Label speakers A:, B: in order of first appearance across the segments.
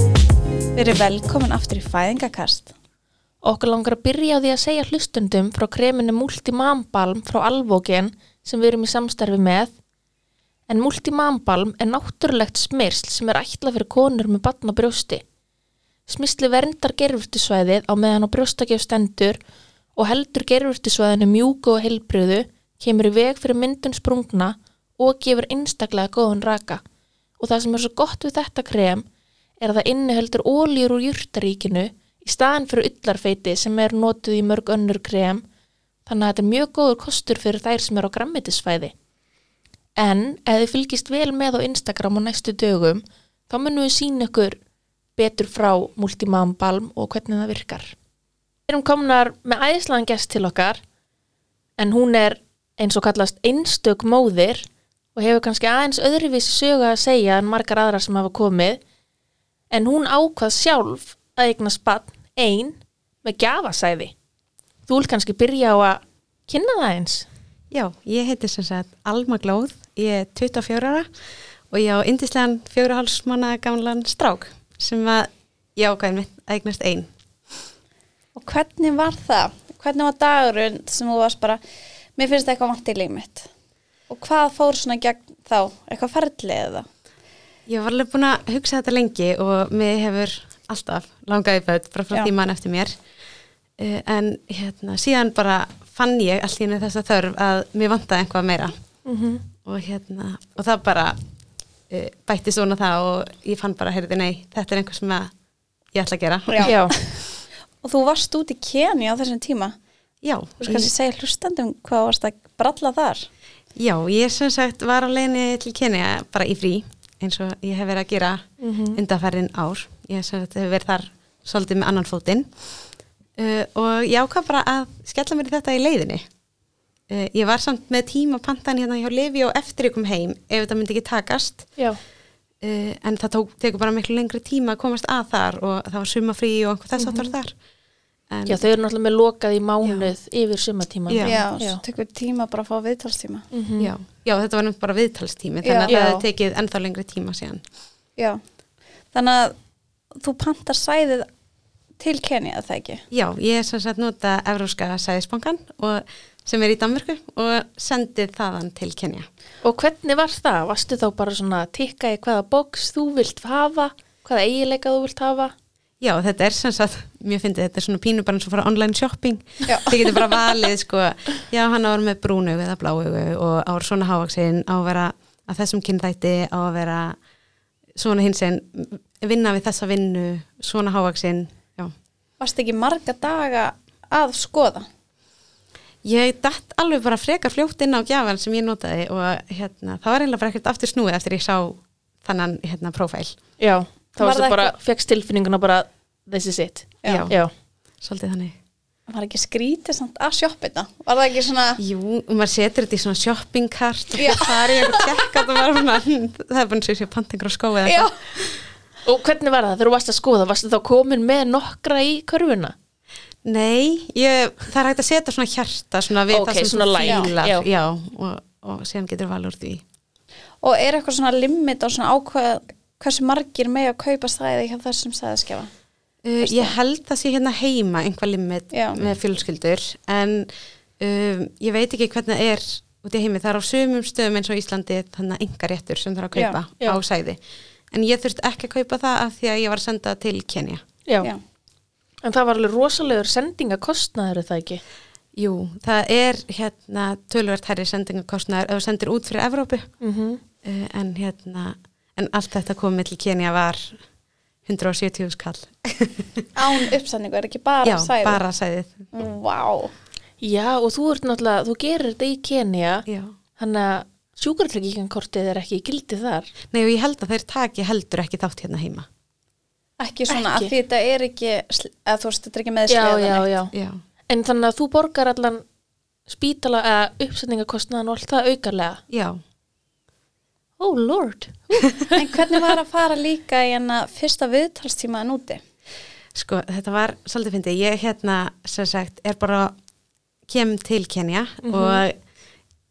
A: Þeir eru velkomin aftur í fæðingakast.
B: Okkur langar að byrja á því að segja hlustundum frá kreminu Multimambalm frá Alvókin sem við erum í samstarfi með. En Multimambalm er náttúrulegt smyrsl sem er ætlað fyrir konur með batn á brjósti. Smyrsli verndar gerfurtisvæðið á meðan á brjóstakjöf stendur og heldur gerfurtisvæðinu mjúku og heilbriðu, kemur í veg fyrir myndun sprungna og gefur einstaklega góðan raka. Og það sem er svo gott við þetta krem er að það inniheldur ólýr úr jurtaríkinu í staðan fyrir ullarfeiti sem er notuð í mörg önnur krem, þannig að þetta er mjög góður kostur fyrir þær sem eru á grammetisvæði. En ef þið fylgist vel með á Instagram á næstu dögum, þá munum við sína ykkur betur frá Multimam Balm og hvernig það virkar. Við erum komnar með æðislegan gest til okkar, en hún er eins og kallast einstök móðir og hefur kannski aðeins öðruvísi sögu að segja en margar aðrar sem hafa komið, en hún ákvað sjálf að eignast barn ein með gjafasæði. Þú vil kannski byrja á að kynna það eins.
C: Já, ég heiti sem sagt Alma Glóð, ég er 24 ára og ég á indislegan fjóruhálsmanna gamlan strák sem að ég ákvæði mitt að eignast einn.
A: Og hvernig var það? Hvernig var dagurinn sem þú varst bara, mér finnst eitthvað vant í líf mitt. Og hvað fór svona gegn þá? Eitthvað ferlið eða?
C: Ég var alveg búin að hugsa þetta lengi og mér hefur alltaf langaði bætt bara frá
A: Já.
C: því mann eftir mér. Eh, En hérna, síðan bara fann ég allt í henni þessa þörf að mér vantaði eitthvað meira.
A: Mhm.
C: -hmm. og, hérna, og það bara uh, bætti svona það og ég fann bara, heyrði, nei, þetta er einhver sem að ég ætla að gera.
A: Já.
B: Já.
A: Og þú varst út í Keni á þessum tíma.
C: Já,
A: Þú veist kannski segja hlustandum hvað varst að bralla þar.
C: Já, ég sem sagt var á leiðinni til Kenya bara í frí eins og ég hef verið að gera mm undanfærin ár. Ég sem sagt hef verið þar svolítið með annan fótinn uh, og ég ákvað bara að skella mér í þetta í leiðinni. Uh, ég var samt með tíma pantan hérna hjá Levi og eftir ég kom heim ef þetta myndi ekki takast
B: Já.
C: uh, en það tók, tekur bara miklu lengri tíma að komast að þar og það var sumafrí og einhver þess aftar þar. En,
B: þau eru náttúrulega með lokað í mánuð yfir sumatíman.
C: Já.
A: svo tökum við tíma bara að fá viðtalstíma.
B: Mhm.
C: já, já, þetta var nefnt bara viðtalstími þannig að
A: Já.
C: það hefði
B: Já.
C: tekið ennþá lengri tíma síðan.
A: Já. Þannig að þú pantar sæðið til Keni að það ekki.
C: Já, ég er sem sagt nota Evróska sæðisbankan og, sem er í Danmörku og sendi þaðan til Kenya.
B: Og hvernig var það? Varstu þá bara svona að tikka í hvaða box þú vilt hafa, hvaða eigileika þú vilt hafa?
C: Já, þetta er sem sagt, mjög fyndið, þetta er svona pínu bara eins og fara online shopping.
A: Já.
C: Þið getur bara valið, sko, já, hann á að vera með brúnaugu eða bláugu og á að vera svona hávaksinn, á að vera að þessum kynþætti, á að vera svona hinsinn, vinna við þessa vinnu, svona hávaksinn, já.
A: Varst ekki marga daga að skoða?
C: Ég datt alveg bara frekar fljótt inn á gjafan sem ég notaði og hérna, það var eiginlega bara ekkert aftur snúið eftir ég sá þannan hérna, prófæl.
B: Já. Þá
A: Var
B: varstu
A: það
B: bara,
A: eitthvað-
B: fegst tilfinninguna bara, this is it.
C: Já.
B: Já.
C: Svolítið þannig.
A: Var ekki skrítið samt að sjoppina? Var það ekki svona...
C: Jú, og maður setur þetta í svona shopping cart
A: Já.
C: og það er ég eitthvað tjekka það var svona, hm, það er bara eins og ég sé pantingur á skói eða
A: Já,
C: eitthvað.
B: Og hvernig var það þegar þú varst að skoða? Varstu þá komin með nokkra í körfuna?
C: Nei, ég, það er hægt að setja svona hjarta svona við
B: Ok,
C: það sem
B: svona
C: þú
B: line,
C: fílar.
B: já.
C: Já, og, og síðan getur valur því.
A: og er eitthvað svona limit á svona ákveð hversu margir með að kaupa stæði hjá þessum stæðiskefa?
C: Uh, ég held það sé hérna heima einhvað limit
A: Já.
C: með fjölskyldur en um, ég veit ekki hvernig það er út í heimi, það er á sumum stöðum eins og Íslandi þannig að enga réttur sem það er að kaupa
B: Já, já.
C: á sæði en ég þurft ekki að kaupa það af því að ég var að senda til Kenya
A: Já.
B: En það var alveg rosalegur sendingakostnaður er það ekki?
C: Jú, það er hérna tölvert herri sendingakostnaður ef þú sendir út fyrir Evrópu
B: -hmm.
C: uh, en hérna, en allt þetta komið til Kenya var 170 skall
A: Án uppsendingu, er ekki bara
C: Já,
A: stæði?
C: bara sæðið
A: Vá,
B: Já, og þú ert náttúrulega, þú gerir þetta í Kenya,
C: Já
B: þannig að sjúkartryggingankortið er ekki í gildi þar.
C: Nei og ég held að þeir taki heldur ekki þátt hérna heima.
A: ekki svona
B: Ekki.
A: að því þetta er ekki, sl- eða þú veist, þetta er ekki með
B: Já, já,
A: sleðan.
B: já.
C: Já.
B: En þannig að þú borgar allan spítala eða uppsendingakostnaðan og allt það aukarlega.
C: Já.
B: Oh lord.
A: En hvernig var að fara líka í hennar fyrsta viðtalstíma en úti?
C: Sko, þetta var svolítið fyndið. Ég hérna, sem sagt, er bara kem til Kenya og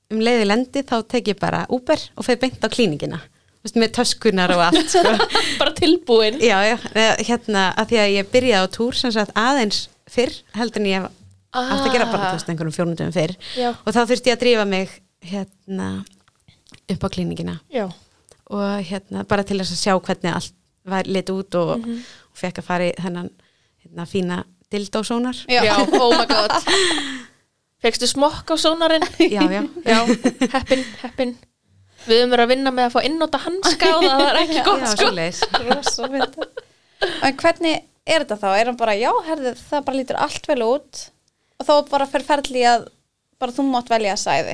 C: um leiði lendi þá tek ég bara Uber og fer beint á klíningina veist, með töskunar og allt sko.
B: bara tilbúin
C: já, já, eh, hérna að því að ég byrjaði á túr sem sagt aðeins fyrr heldur en ég hef
B: Ah.
C: átt að gera bara þú veist, einhverjum fjórnundum fyrr
B: Já.
C: og þá þurfti ég að drífa mig hérna upp á klíningina
B: já,
C: og hérna bara til þess að sjá hvernig allt var lit út og, og fekk að fara í þennan hérna, fína dildósónar
A: Já.
B: já, oh my god fegstu smokk á sónarinn
C: já, já,
B: já, heppin, heppin við höfum verið að vinna með að fá innóta hanska og það er ekki gott
C: já,
B: sko
C: svoleiðis.
A: Rosa fyndið. En hvernig er þetta þá? Er hann bara, já, herðu, það bara lítur allt vel út og þá bara fer ferli í að bara þú mátt velja að sæði.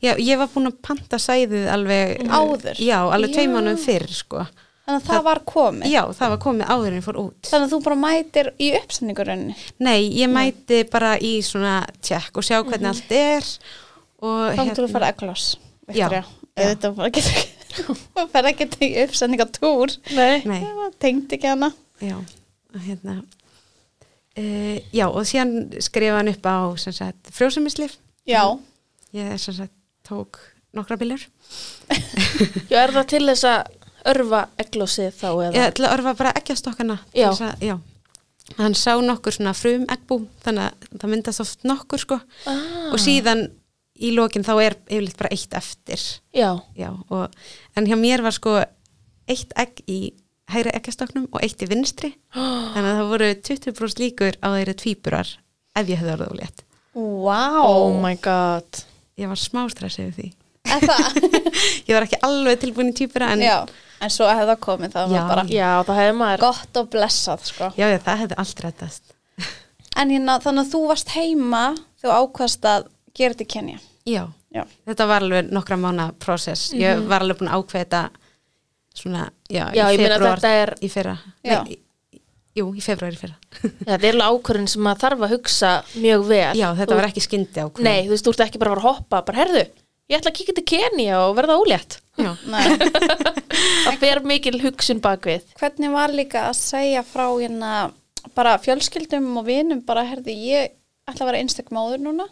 C: já, ég var búin að panta sæðið alveg
A: Áður?
C: já, alveg
B: Já.
C: tveimannum fyrr sko.
A: Þannig að það, var komið.
C: já, það var komið áður en ég fór út
A: Þannig að þú bara mætir í uppsendingurinni.
C: nei, ég mæti bara í svona tjekk og sjá hvernig allt er og hérna,
A: Þá getur þú að fara eglós.
C: Já.
A: Þetta bara getur ekki. Það fer ekki í uppsendingatúr.
B: nei,
C: nei,
A: Það tengdi ekki hana.
C: já, og hérna uh, já, og síðan skrifa hann upp á sem sagt, frjósumislif
A: Já.
C: ég sem sagt tók nokkra bílur
B: já, er það til þess að örfa eglósið þá eða
C: ég ætla að orfa bara eggjastokkana til
B: Já.
C: þess að- já. hann sá nokkur svona frum eggbú þannig að það myndast oft nokkur sko
B: ah,
C: og síðan í lokin þá er yfirleitt bara eitt eftir
B: já,
C: já, og, en hjá mér var sko eitt egg í hægra eggjastoknum og eitt í vinstri
B: Ah.
C: þannig að það voru 20% líkur á þeirri tvíburar ef ég hefði orðið ólétt
A: Vá.
B: oh my god
C: ég var smá stressið yfir því
A: Er það?
C: ég var ekki alveg tilbúin í tvíbura en
A: já. En svo hefði það komið, það
C: Já.
A: var bara
B: já, það hefði maður
A: gott og blessað, sko.
C: já, já, það hefði allt rættast
A: En hérna, þannig að þú varst heima þú ákvast að gera þetta í Kenya.
C: já,
A: Já.
C: þetta var alveg nokkra mána process, ég var alveg búin að ákveða þetta svona, já,
B: Mhm. Já,
C: í
B: ég meina
C: februar
B: þetta er-
C: í fyrra
A: Já.
C: Nei, í- jú, í februar í fyrra
B: Já, þetta er alveg ákvörðin sem maður þarf að hugsa mjög vel.
C: já, þetta
B: Þú-
C: var ekki skyndi ákveða
B: Nei, þú veist, þú ert ekki bara að fara að hoppa, bara herðu, ég ætla að kíkja til Kenya og verða ólétt.
C: já,
A: Nei.
B: Það fer mikil hugsun bakvið.
A: Hvernig var líka að segja frá hérna bara fjölskyldum og vinum bara, herði, ég ætla að vera einstak móður núna.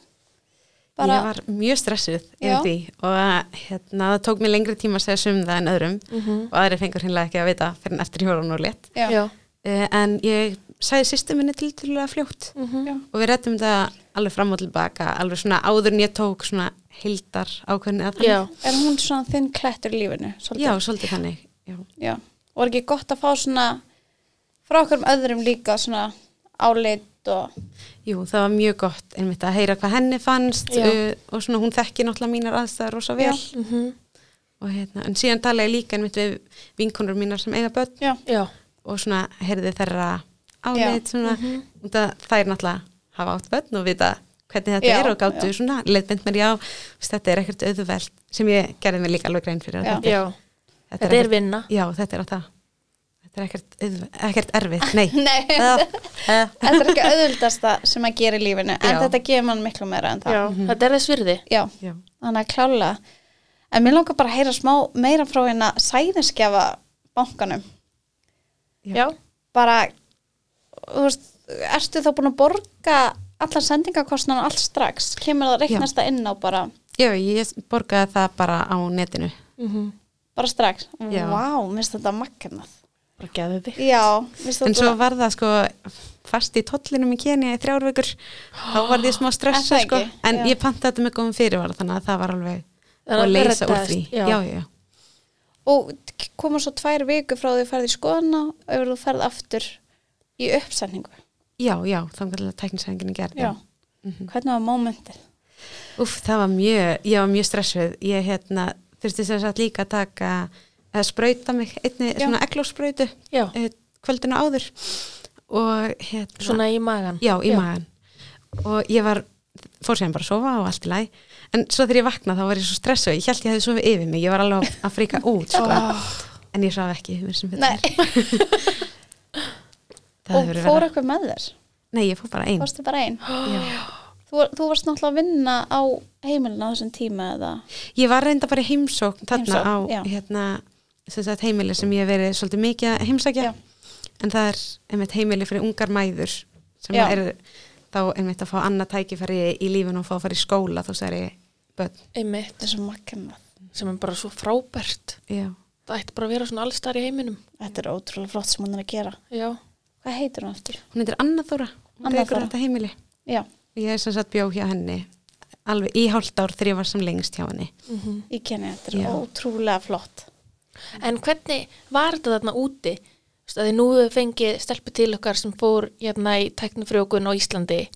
A: Bara,
C: ég var mjög stressuð yfir
A: Já.
C: því og hérna, það tók mér lengri tíma að segja sum það en öðrum
B: Mhm.
C: og aðri fengur hinnlega ekki að vita fyrir en eftir ég var hún og létt
A: já. Já.
C: uh, en ég sagði sýstu minni til til að fljótt
B: Mm.
A: Já.
C: og við rettum þetta alveg fram og tilbaka alveg svona áður en ég tók svona heildar ákveðin að
B: Já,
A: Er hún svona þinn klettur í lífinu? Svolítið?
C: já, svolítið þannig já.
A: Já. Og er ekki gott að fá svona frá okkur um öðrum líka svona áleitt og
C: Jú, það var mjög gott einmitt að heyra hvað henni fannst
B: Já.
C: uh, og svona hún þekki náttúrulega mínar aðstæðar rosa vel
B: Mhm.
C: og hérna, en síðan tala ég líka einmitt við vinkonur mínar sem eiga börn
A: já.
B: já,
C: og svona heyrði þeirra áleitt svona, mm -hmm. það er náttúrulega hafa átt börn og vita hvernig þetta
A: Já,
C: er og gáttu
A: já.
C: svona leiðbend mér já, veist, þetta er ekkert auðvelt sem ég gerði mér líka alveg grein fyrir að
A: Já.
C: þetta,
B: já. Þetta er
C: ekkert-
B: vinna.
C: já, þetta er á það þetta er ekkert, auðvelt, ekkert erfitt nei,
A: Nei,
C: Eh, eh.
A: þetta er ekki auðvildasta sem að gera í lífinu en
C: Já.
A: þetta gefur mann miklu meira en það.
B: Já,
C: Mhm.
B: þetta er þess virði.
A: Já,
C: já.
A: þannig að klála en mér langar bara að heyra smá meira frá hérna sæðinskjafa bankanum
C: Já.
B: Já,
A: bara, þú veist ertu þá búin að borga allar sendingakostnana allt strax kemur það reiknast það inn á bara
C: já, ég borgaði það bara á netinu Mhm.
A: bara strax, Mm,
C: Já.
A: vá, minnst þetta magnað
B: bara geðu þig.
A: já, minnst
C: en svo
A: þetta
C: var það sko fast í tollinum í Kenya í þrjár vikur þá var því smá
A: Er
C: stressa
A: það
C: sko
A: ekki?
C: en
A: Já.
C: ég pantaði þetta með góðum fyrirvara þannig að það var alveg
B: Þannig
C: að
B: að
C: leysa úr
B: reddaðist,
C: því
B: já.
C: já, já, já.
A: og t- koma svo tvær viku frá því ferði í skoðana og ef þú ferð aftur í uppsetningu
C: Já, já, þannig að tæknisæðingin er gerð.
A: já,
C: Mhm.
A: hvernig var mómentið
C: Úf, það var mjög, ég var mjög stressuð. Ég hérna, þurfti sem sagt líka að taka, að sprauta mig einni
A: Já.
C: svona eglósprautu
B: Já,
C: eh, kvöldina áður og hérna,
B: svona í magan.
C: já, í magan. Og ég var, fór sér bara að sofa og allt í lagi, en svo þegar ég vaknaði þá var ég svo stressuð, ég held ég hefði sofið yfir mig, ég var alveg að fríka út, sko. en ég svaf ekki, mér sem
A: Nei,
C: betur. Það
A: og
C: hefur
A: fór
C: verið.
A: eitthvað með þér
C: Nei, ég fór bara einn.
A: fórstu bara einn
C: Já.
A: Þú, þú varst náttúrulega að vinna á heimilinu á þessum tíma eða
C: Ég var reynda bara í heimsókn þarna
A: Heimsókn,
C: á
A: já.
C: hérna, sem sagt, heimili sem ég hef verið svolítið mikið að heimsækja
A: Já.
C: en það er einmitt heimili fyrir ungar mæður sem
A: Já.
C: er þá einmitt að fá annað tækifæri í lífinu og fá að fara í skóla þú særi börn
B: Einmitt,
A: Þetta er svo makkennað
B: sem er bara svo frábært.
C: já.
B: Það ætti bara að vera svona allstar í heiminum.
A: Þetta er ótrúlega flott sem hún er að gera.
B: Já.
A: Hvað heitir hún aftur?
C: Hún heitir Anna Þóra, hún
A: Anna
C: tekur
A: Þóra.
C: þetta heimili.
A: Já,
C: Og Ég er sem sagt bjó hjá henni alveg í hálft ár þegar ég var sem lengst hjá henni.
B: Mhm.
A: ég kenni þetta. er
C: Já.
A: Ótrúlega flott.
B: En hvernig var þetta þarna úti? Þú veist að þið nú hefur fengið stelpu til okkar sem fór hérna í teknifrjókun á Íslandi.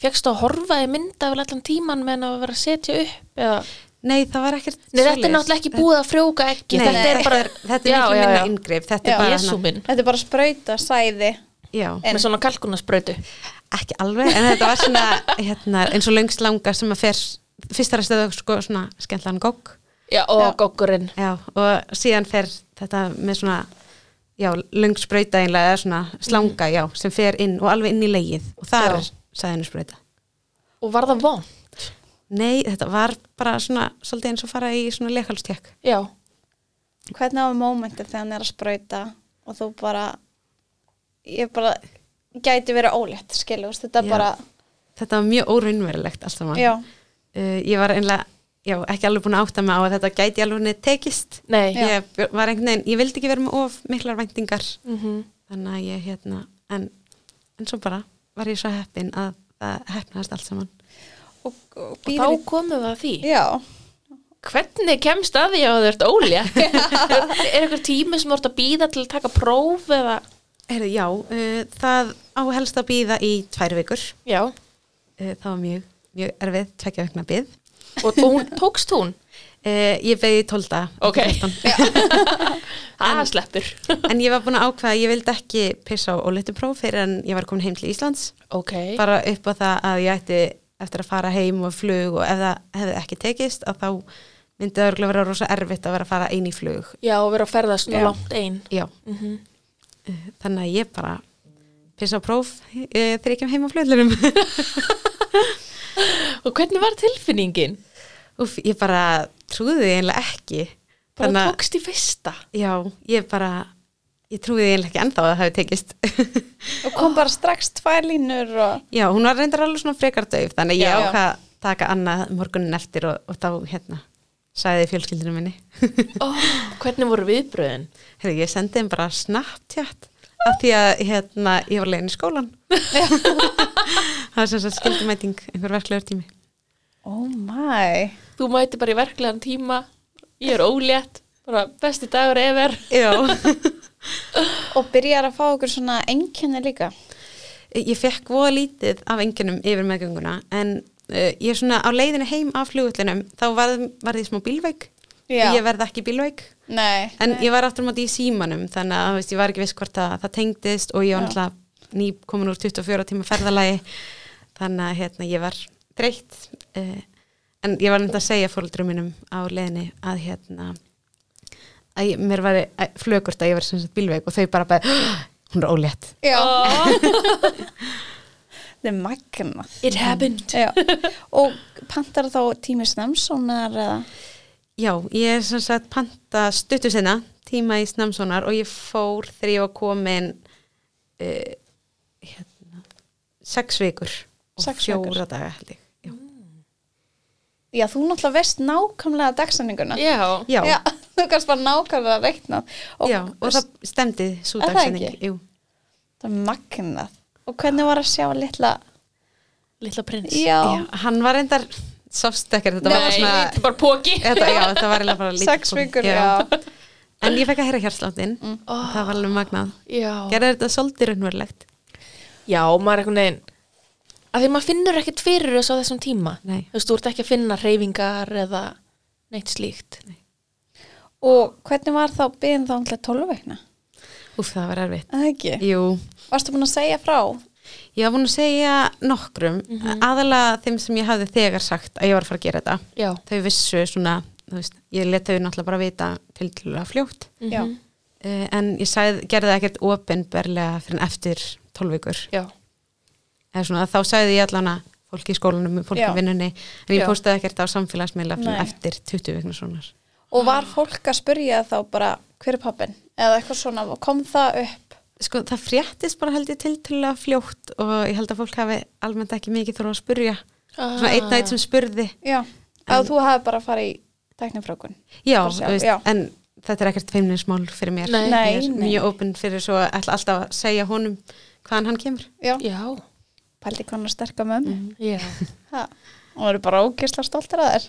B: Fjökkstu að horfa í mynda vel allan tíman meðan að vera að setja upp eða...
C: Nei, það var ekkert
B: Nei, þetta er
C: svoleiðis.
B: náttúrulega ekki búið að frjóka ekki.
C: Nei,
B: þetta er bara...
C: þetta er miklu minna inngrip, þetta
A: Já.
C: er bara
B: Jesú
C: hana-
B: minn.
A: Þetta er bara sprauta sæði.
C: Já,
B: Með svona kalkunasprautu.
C: ekki alveg, en þetta var svona hérna, eins og lengst langa sem að fer fyrst er að stöða sko, svona skemmtlan gogg
B: Já, og
A: Já.
B: goggurinn.
C: já, og síðan fer þetta með svona já, lengsbrauta einlega eða svona slanga, já, sem fer inn og alveg inn í legið og það
B: Já.
C: er sæðinusbrauta
B: Og var það von?
C: Nei, þetta var bara svona svolítið eins og fara í svona leikhalstjekk
B: Já.
A: Hvernig var mómentið þegar hann er að sprauta og þú bara, ég bara gæti verið ólétt, skilur, þú veist, þetta
C: Já.
A: bara,
C: Þetta var mjög óraunverulegt allt saman
A: já,
C: uh, ég var einlega já, ekki alveg búin að átta mig á að þetta gæti alveg henni tekist
B: Nei.
C: ég, var einhvern veginn, ég vildi ekki vera með of miklar væntingar
B: Mhm.
C: þannig að ég hérna en, en svo bara var ég svo heppin að það hefnaðast allt saman
A: og, og
B: Þá
A: býður,
B: komum við að því.
A: já,
B: Hvernig kemst að því að þú ert ólétt? er er einhver tími sem þú ert að býða til að taka próf eða...
C: Heyrðu, já, uh, það á helst að býða í tvær vikur
B: Já.
C: uh, það var mjög, mjög erfið, tvekja vegna býð
B: Og hún, tókst hún?
C: uh, ég beði tólda
B: Ok.
C: en
B: Það sleppur.
C: ég var búin að ákvaða að ég vildi ekki pissa á óléttupróf fyrir en ég var komin heim til Íslands
B: Ok.
C: bara upp á það að ég ætti eftir að fara heim og flug og ef það hefði ekki tekist að þá myndi það örgulega vera rosa erfitt að vera að fara einn í flug
B: Já, og vera að ferðast svona
A: Já.
B: langt einn.
C: já,
B: Mm
C: eh, þannig að ég bara pissa á próf eh, þegar ég kem heim á fluglunum
B: Og hvernig var tilfinningin?
C: Úf, ég bara trúði því einlega ekki
B: Bara
C: þannig að,
B: tókst í fyrsta.
C: já, ég bara ég trúði því einlega ekki ennþá að það hefði tekist
A: og kom bara strax tvær línur og,
C: já, hún var reyndar alveg svona frekar döf þannig að
A: Já,
C: ég
A: já.
C: ákvað að taka annað morgunin eftir og, og þá hérna sagði fjölskyldinu minni
B: Ó, hvernig voru viðbröðin?
C: Herri, ég sendi þeim bara Snapchat af því að hérna, ég var leiðin í skólan það var sem sagt skildumæting einhver verklegur tími
A: oh my,
B: Þú mæti bara í verklegan tíma, ég er ólétt, bara besti dagur efer.
C: já,
A: og byrjar að fá okkur svona enginni líka.
C: ég fekk voða lítið af enginnum yfir meðgönguna en uh, ég svona á leiðinu heim af flugullinum þá varð, varð ég smá bílveik
A: Já.
C: ég verð ekki bílveik
A: Nei,
C: en ég var aftur á móti í símanum þannig að þú veist, ég var ekki viss hvort að það tengdist og ég var náttúrulega ný komin úr 24 tíma ferðalagi þannig að hérna, ég var breytt uh, en ég var nefnd að segja fólkdrum mínum á leðinni að hérna að ég, mér var flögurt að ég var sem sagt bílveik og þau bara bara, hún er ólétt
A: já,
B: Ó,
C: Oh.
A: þetta er magnað.
B: it happened.
A: Já, og pantar þá tími snemsónar eða?
C: Já, ég er sem sagt panta stuttu sinna, tíma í Snamsónar og ég fór þegar ég var komin uh, hérna, sex vikur og
A: Sex
C: fjóra
A: vikur. Mm.
C: daga held ég. Já,
A: Já, þú náttúrulega veist nákvæmlega dagsendinguna.
B: Já.
C: já, já.
A: þú kannst bara nákvæmlega að reikna. Og,
C: og það stemdi svo
A: Er það
C: dagsinning.
A: ekki?
C: Jú.
A: Það er magnað. Og hvernig var að sjá litla...
B: Lilla prins.
A: Já,
C: Já, hann var reyndar sást ekkert, þetta var bara
B: Nei,
C: svona,
B: þetta er bara póki.
C: þetta, já, þetta var eiginlega bara lítið
A: sex
C: fólk,
A: vikur, já. Mm.
C: En ég fekk að heyra hjartsláttinn, það var alveg magnað.
B: Já.
C: Gerði þetta svolítið raunverulegt?
B: Já, maður er einhvern veginn. Af því maður finnur ekkert fyrir þessu á þessum tíma.
C: Nei.
B: Þú veist, þú ert ekki að finna reyfingar eða neitt slíkt.
A: Og hvernig var þá byggðin þá um umtla 12 veikna?
C: Úf, það var erfitt.
A: Það ekki.
C: Jú,
A: Varstu búin að segja frá?
C: Ég var búin að segja nokkrum, mm aðalega þeim sem ég hafði þegar sagt að ég var að fara að gera þetta.
B: Já.
C: Þau vissu svona, þú veist, ég let þau náttúrulega bara vita til til fljótt.
A: Já.
B: Mhm.
C: Uh, en ég sagði, gerði það ekkert opinberlega fyrir en eftir 12 vikur.
B: Já.
C: Eða svona, þá sagði ég allan að fólki í skólanum, fólki
A: Já.
C: í vinnunni, en ég
B: Já.
C: postaði ekkert á samfélagsmiðla fyrir en
A: Nei.
C: eftir 20 vikna svona.
A: Og var fólk að spyrja þá bara hver er pappin? Eða eitthvað svona, kom það upp?
C: Sko, það fréttist bara held ég til til fljótt og ég held að fólk hafi almennt ekki mikið þurfa að spurja. Svona
B: Ah.
C: einn og einn sem spurði.
A: Já, að þú hafi bara farið í tæknifrökun.
C: Já,
A: Bara sjá,
C: þú veist,
A: já.
C: en þetta er ekkert feimnismál fyrir mér
B: Nei.
C: ég
A: Nei,
C: er
A: nei.
C: mjög opinn fyrir svo að ætla alltaf að segja honum hvaðan hann kemur
A: já,
B: Já,
A: pældi konar sterka mömmu
C: Mhm.
B: já.
A: Ha, og það eru bara ógeðslega stoltir að þér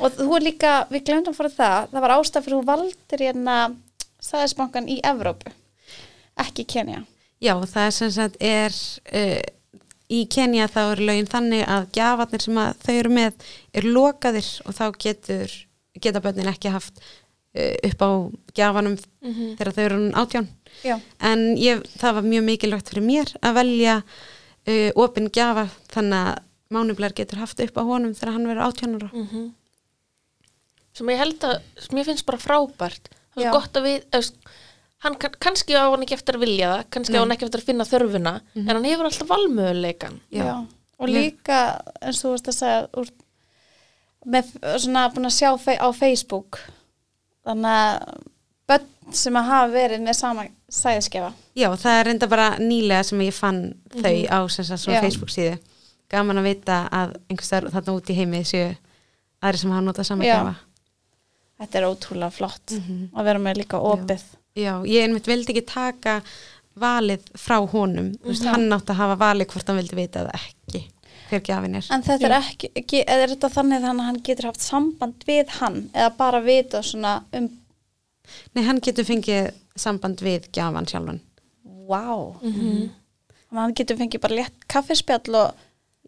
A: og þú er líka við glemdum fyrir það, það var ástæð fyrir þú valdir hérna sæðisbankan í Evrópu ekki Kenya
C: Já, það er sem sagt er uh, í Kenya þá er lögin þannig að gjafarnir sem að þau eru með er lokaðir og þá getur geta börnin ekki haft uh, upp á gjafanum þegar þau eru orðin átján
A: já,
C: en ég, það var mjög mikilvægt fyrir mér að velja uh, opin gjafa þannig að mánublar getur haft upp á honum þegar hann verður átjánara mm.
B: sem ég held að, sem ég finnst bara frábært það
A: Já.
B: er gott að við eðst, hann, kann- kannski á hann ekki eftir að vilja það kannski á hann ekki eftir að finna þörfuna en hann hefur alltaf valmöðuleikan
C: Já.
A: og líka eins og þú veist að segja úr, með svona búin að sjá fe á Facebook þannig að börn sem að hafa verið með sama sæðiskefa
C: Já, það er reynda bara nýlega sem ég fann þau á sem sagt svona
A: Mhm. Já.
C: Facebook síðu gaman að vita að einhverstaðar þarna út í heimi séu aðri sem hafa notað saman
A: Já.
C: gjafa
A: þetta er ótrúlega flott að vera með líka opið
C: Mhm. Já, ég einmitt vildi ekki taka valið frá honum mm veist,
A: Mhm.
C: hann átt að hafa valið hvort hann vildi vita eða ekki hver gjafin er
A: En þetta er ekki, ekki eða er þetta þannig þannig að hann getur haft samband við hann eða bara vita svona um
C: Nei, hann getur fengið samband við gjafan sjálfan
A: wow mm
B: Mhm.
A: hann getur fengið bara létt kaffispjall og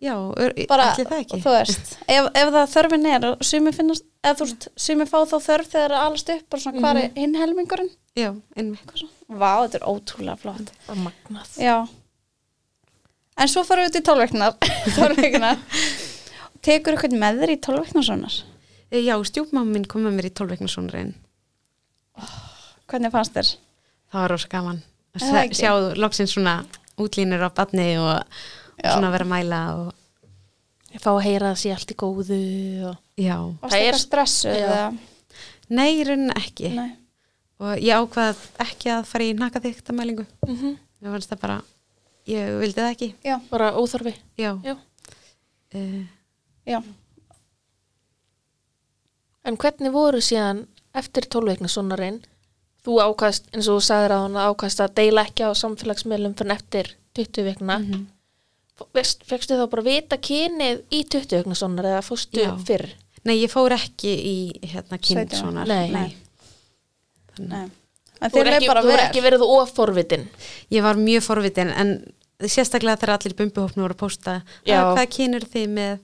C: Já, ör-
A: bara,
C: ætli það ekki
A: þú veist ef, ef það þörfin er, og sumi finnast eða þú veist, sumi fá þá þörf þegar það er allast upp bara svona hvar er hinn helmingurinn
C: Já, einmitt
A: Hvað svo? Vá, þetta er ótrúlega flott
B: bara magnað
A: Já En svo farum við út í tólveiknar tólveiknar Tekur eitthvað með þér í tólveiknarsonar
C: E, Já, stjúpmáma minn kom með mér í tólveiknarsónurinn
A: Hvernig fannst þér?
C: það var rosa gaman að
A: Er það
C: sjá-
A: ekki?
C: sjáðu loksins svona útlínur á badni og
A: Já.
C: svona vera að mæla og
B: ég fá að heyra að sé allt í góðu og...
C: já,
A: Varst
B: Það er-
A: eitthvað stressu?
B: Já.
A: eða?
C: nei, í rauninni ekki
A: Nei.
C: og ég ákvað ekki að fara í naka þykta mælingu
B: mm
C: ég fannst það bara, ég vildi það ekki
A: Já,
B: bara óþorfi
C: já,
B: Já.
C: uh,
A: já.
B: en hvernig voru síðan eftir tólveikna sonarinn þú ákast, eins og þú sagðir að hann ákast að deila ekki á samfélagsmiðlum fyrir eftir 20 vikna mm
C: mhm.
B: -hmm. fegstu þá bara að vita kynið í 20 vikna sonar eða fórstu
C: Já.
B: fyrr
C: nei, ég fór ekki í hérna
A: Sveitina.
C: kynnsonar
B: Nei.
A: Nei. En
B: þú
A: þér
B: er
A: leið
B: ekki,
A: bara
B: þú er
A: vel.
B: ekki verið oforvitin
C: ég var mjög forvitin en sérstaklega þegar allir bumbuhópnu voru að posta
B: Já.
C: "Ah, hvað kynur þið með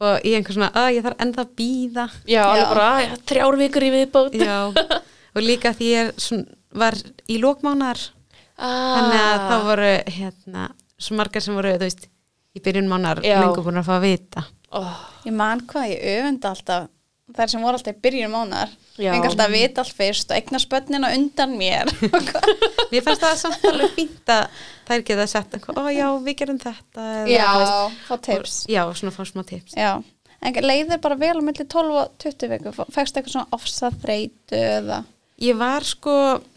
C: og ég einhver svona, að ég þarf enda að býða
B: Já, alveg bara "Æ, þrjár vikur í viðbót
C: Já, og líka því ég er svon, var í lókmánar
B: ah,
C: þannig að þá voru hérna, svo margar sem voru, þú veist í byrjun mánar
B: Já.
C: lengur búin að fá að vita
B: oh,
A: Ég man hvað ég öfunda alltaf þær sem voru alltaf í byrjun mánar
B: Já.
A: fengi alltaf að vita allt fyrst og eigna spönnina undan mér
C: Mér fannst það samt alveg fínt að þær geta sett eitthvað, ó já, við gerum þetta eða, þú veist,
A: Já, fá tips
C: Já, svona fá smá tips
A: Já, en leiðir bara vel á milli 12 og 20 viku, fegst eitthvað svona ofsa þreytu eða
C: Ég var sko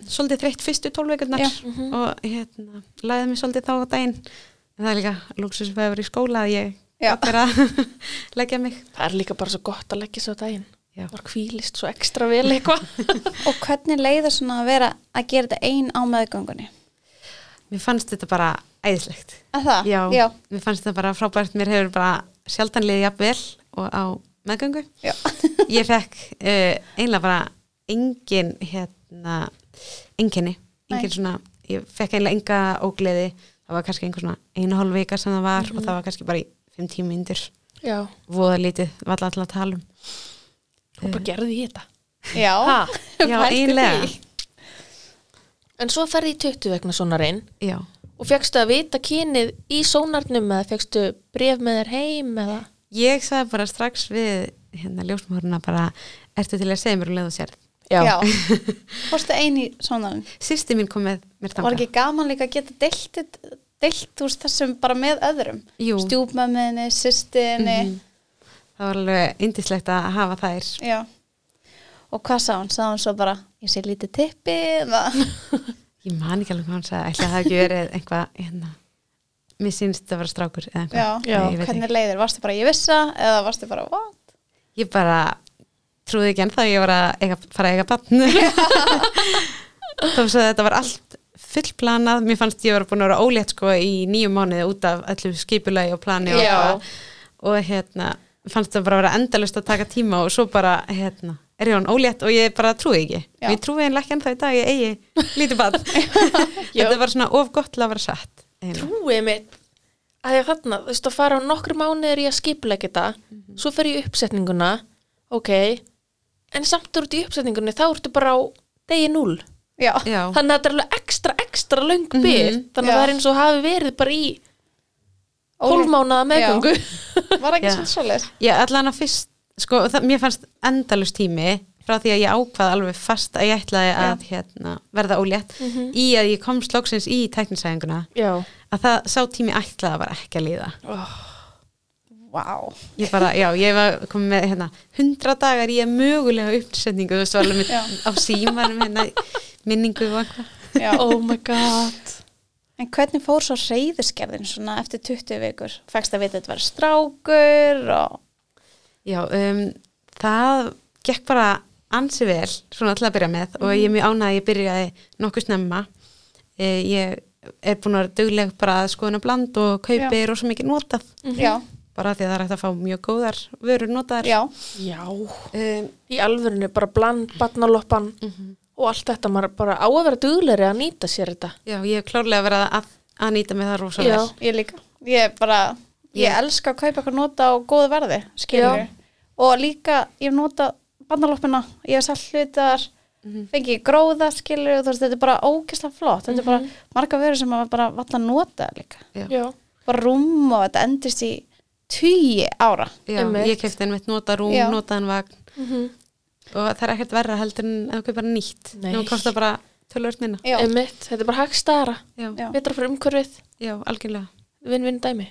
C: svolítið þreytt fyrstu tólveikurnar
A: Já. mhm.
C: og hérna, laðið mér svolítið þá á daginn en það er líka lúksus við að vera í skóla að ég
A: Já.
C: gat verið að leggja mig
B: Það er líka bara svo gott að leggja svo daginn
C: Já.
B: Það var kvílist svo ekstra vel eitthvað
A: og hvernig leiðir svona að vera að gera þetta ein á meðgöngunni
C: Mér fannst þetta bara æðislegt
A: að það?
C: Já,
A: Já.
C: mér fannst þetta bara frábært, mér hefur bara sjaldan liðið jafn vel og á meðgöngu.
A: Já.
C: Ég fekk uh, einlega bara engin, hérna, enginni, engin
A: Nei.
C: svona, ég fekk einlega enga ógleði, það var kannski einhver svona einu og hálf vika sem það var og
A: Mhm.
C: það var kannski bara í fimm tíma myndir,
B: Já,
C: voða lítið, var alltaf að tala um.
B: og bara gerði ég þetta
A: Já,
C: Ha, Eh, já,
A: Pældu
C: einlega.
A: því.
B: En svo ferði í 20 vegna sonarinn
C: Já,
B: og fegstu að vita kynið í sónarnum eða fegstu bref með þér heim eða
C: ég sagði bara strax við, hérna, ljósmóruna bara, ertu til að segja mér um leið og sér.
A: Já. Fórstu ein í svona
C: Sýsti mín kom með mér þangað.
A: var ekki gaman líka að geta deilt, deilt úr þessum bara með öðrum
C: Jú. Mhm.
A: stjúpmömminni, sýstinni
C: Það var alveg indislegt að hafa þær.
A: já og hvað sá hún? Sá hún svo bara ég sé lítið tippi eða-
C: Ég man ekki alveg hvað hann sagði, ætla það hafi ekki verið eitthvað, hérna, mér sínst það var strákur eða
A: já,
C: eitthvað.
B: Já,
C: Ég, veit
A: hvernig
C: ekki.
A: leiðir, varstu bara ég vissa eða varstu bara what?
C: ég bara trúði ekki ennþá að ég var að eiga, fara að eiga bann þó svo að þetta var allt fullplanað, mér fannst ég var búin að vera ólétt sko í nýju mánuði út af öllu skipulagi og plani og,
B: Já.
C: eitthvað. og hérna, fannst það bara að vera endalust að taka tíma og svo bara hérna, er ég hann ólétt og ég bara trúi ekki
A: Já.
C: og ég trúi einlega ekki ennþá í dag, ég eigi lítið bann
B: Já.
C: þetta var svona of gott til að vera satt eiginlega.
B: trúið mitt að ég þarna, þú veist, að fara á nokkru mánuðir í að skipleika þetta, svo fer ég í uppsetninguna, ok en samt úr út í uppsetningunni þá ertu bara á degi 0
A: já,
C: Já.
B: þannig að þetta er alveg ekstra, ekstra löng byrð, þannig að
A: Já.
B: það er eins og hafi verið bara í 12 mánuða meðgöngu
A: var
C: Já.
A: ekki svona svolítið
C: Já, allan að fyrst, sko, það, mér fannst endalust tími frá því að ég ákvað alveg fast að ég ætlaði að hérna, verða ólétt í að ég komst loksins í tæknisæðinguna
B: já,
C: að það sá tími ætlaði bara ekki að líða.
A: Vá,
C: Ég bara, já, ég var komið með hérna, 100 dagar í að mögulega uppsetningu, þú veist, var alveg með,
A: Já.
C: á símanum, hérna, minningu og eitthvað.
A: já.
B: oh my god
A: En hvernig fór svo reyðiskerðin svona eftir 20 vikur? Fækst að vita að þetta var strákur og...
C: Já, um, það gekk bara ansi vel, svona til að byrja með og ég er mjög ánægð að ég byrjaði nokkuð snemma. E, ég er búin að vera dugleg bara að skoðuna bland og kaupi
A: Já.
C: rosa mikið notað,
A: Já,
C: bara af því að það er hægt að fá mjög góðar vörur notaðar.
A: já,
B: já,
C: Um,
B: í alvörinu bara bland barnaloppan og allt þetta, maður bara á að vera duglegri að nýta sér þetta
C: já, ég hef klárlega verið að, að nýta með það rosa
B: Já.
C: vel.
A: ég líka. Ég bara, ég elska að kaupa eitthvað nota á góðu verði, skilur
B: Já.
A: Og líka, ég hef nota bandaloppina, ég hef sætt hlutar,
C: Mhm.
A: fengi gróða, skilur þú veist, þetta er bara ógeðslega flott. Þetta er bara marga verður sem maður bara valla að nota líka.
C: Já.
B: já,
A: Bara rúm og þetta endist í tugi ára.
C: Já,
B: Einmitt.
C: ég kefti einmitt notað rúm,
A: Já.
C: notaðan vagn og það er ekkert verra heldur en að kaupa nýtt.
B: Nei.
C: Nú kostar bara tölvörn minna.
A: Já,
B: emitt, þetta er bara hagstara
C: Já,
A: Já.
B: betra fyrir umhverfið,
C: já, algjörlega.
B: vinn-vinn dæmi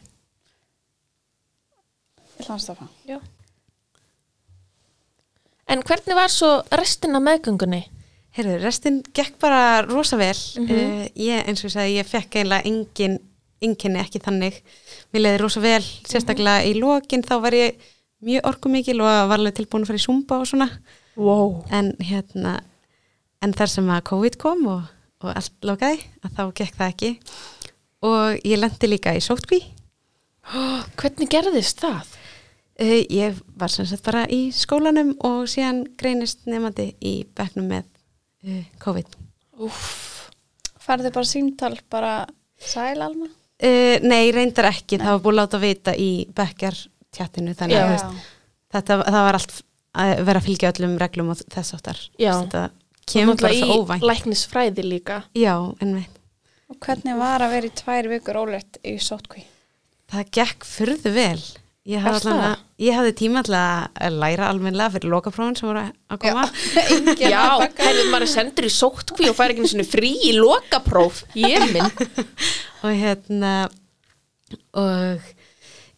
A: ég hlans það fann.
B: Já. En hvernig var svo restin af meðgöngunni?
C: Heyrðu, restin gekk bara rosa vel. Mm ég, eins og ég sagði, ég fekk eiginlega engin, enginni ekki þannig. Mér leiði rosa vel, sérstaklega í lokin þá var ég mjög orkumikil og var alveg tilbúin að fara í Zumba og svona.
B: Wow.
C: En hérna, en þar sem að COVID kom og, og allt lokaði, að þá gekk það ekki. Og ég lendi líka í sótkví.
B: Ah, Hvernig gerðist það?
C: Uh, ég var sem sagt bara í skólanum og síðan greinist nefandi í bekknum með uh, COVID.
B: Úff.
A: Færðu bara símtal bara sæl alma?
C: Uh, nei, reyndar ekki, það var búið að láta vita í bekkjar tjattinu þannig
B: Já.
C: að þú veist, þetta, það var allt að vera að fylgja öllum reglum og þess áttar
B: Já.
C: þetta kemur bara svo óvænt
B: Læknisfræði líka.
C: Já, en veit,
A: Og hvernig var að vera í tvær vikur ólétt í sótkví?
C: það gekk furðu vel ég
B: Er
C: hafði, allan
B: það?
C: að, ég hafði tíma til að læra almennlega fyrir lokaprófin sem voru að koma
A: Engin
B: Já, hefur maður er sendur í sótkví og fær ekki einu sinni frí í lokapróf. Ég minn.
C: og hérna og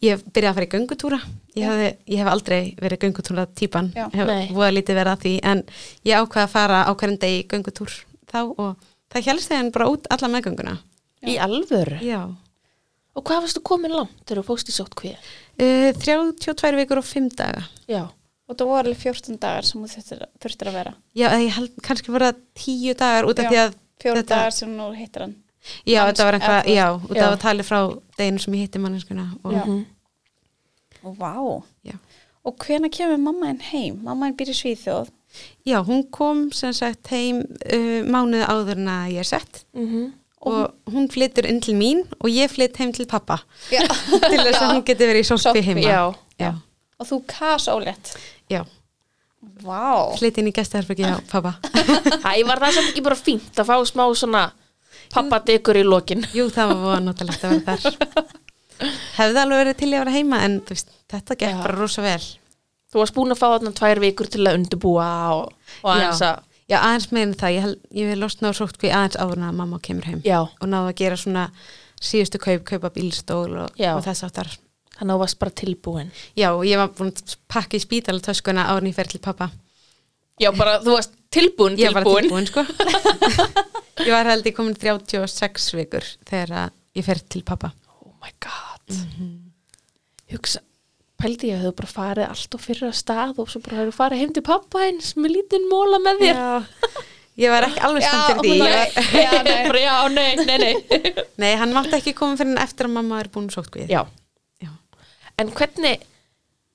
C: ég byrjaði að fara í göngutúra ég, hafði, ég hef aldrei verið göngutúra típan
A: Já.
C: hef
B: Nei.
C: voða lítið verið að því en ég ákvaði að fara á hverjum degi í göngutúr þá og það helst þegar bara út alla meðgönguna
B: Í alvöru.
C: já
B: Og hvað varstu komin langt þegar þú fókst í sótkví?
C: Uh, 32 vikur og 5 daga
B: Já.
A: Og það voru alveg 14 dagar sem þú þurftir, þurftir að vera.
C: Já, eða ég held kannski voru það 10 dagar út af
A: Já,
C: því að
A: Fjóru
C: þetta,
A: dagar sem nú hittir hann.
C: Já, þetta var
A: Manns-
C: eitthvað,
A: eða-
C: já, út af
B: Já.
C: að tali frá deginu sem ég hitti manneskuna og,
A: Já. Og vá.
C: Já.
A: Og hvena kemur mamma henn heim? Mamma henn býr í Svíþjóð.
C: já, hún kom sem sagt heim uh, mánuð áður en að ég er sett
B: Mm
C: og hún flyttur inn til mín og ég flytt heim til pappa
A: Já.
C: til þess að hún geti verið í sótfi
A: Sóttkví,
C: heima
B: já.
C: já,
A: Og þú kas ólétt.
C: já.
A: Vá.
C: flytt inn í gestaherbergi hjá pappa
B: Æ, var það samt ekki bara fínt að fá smá svona pappadekur í lokin.
C: jú, það var voða notalegt að vera þar hefði alveg verið til ég að vera heima en þú veist, þetta gekk
B: Já.
C: bara rosa vel
B: Þú varst búin að fá þarna tvær vikur til að undubúa og, og aðeins
C: já.
B: að...
C: já, aðeins meðin það, ég, held, ég hef losna á sóttkví aðeins áður en að mamma kemur heim
B: Já.
C: og náðu að gera svona síðustu kaup, kaupa bílstól og,
B: Já.
C: og þess áttar
B: Þannig að þú varst bara tilbúin.
C: já, og ég var búin að pakka í spítalatöskuna áður en ég fer til pappa
B: Já, bara þú varst tilbúin,
C: ég var bara
B: tilbúin.
C: tilbúin sko ég var held ég komin 36 vikur þegar að ég fer til pappa
B: Oh my god. Oh Hugsa, pældi ég að þau bara farið allt og fyrir að stað og svo bara hefur farið heim til pappa eins með lítinn móla með þér.
C: Já, ég var ekki alveg
A: Já,
C: stendur því
A: hún
C: Ég
A: var-
C: var,
A: Já, nei.
B: Bara, já, nei, nei, nei.
C: Nei, hann mátti ekki koma fyrir en eftir að mamma er búin sótt við
B: já.
C: Já.
B: En hvernig,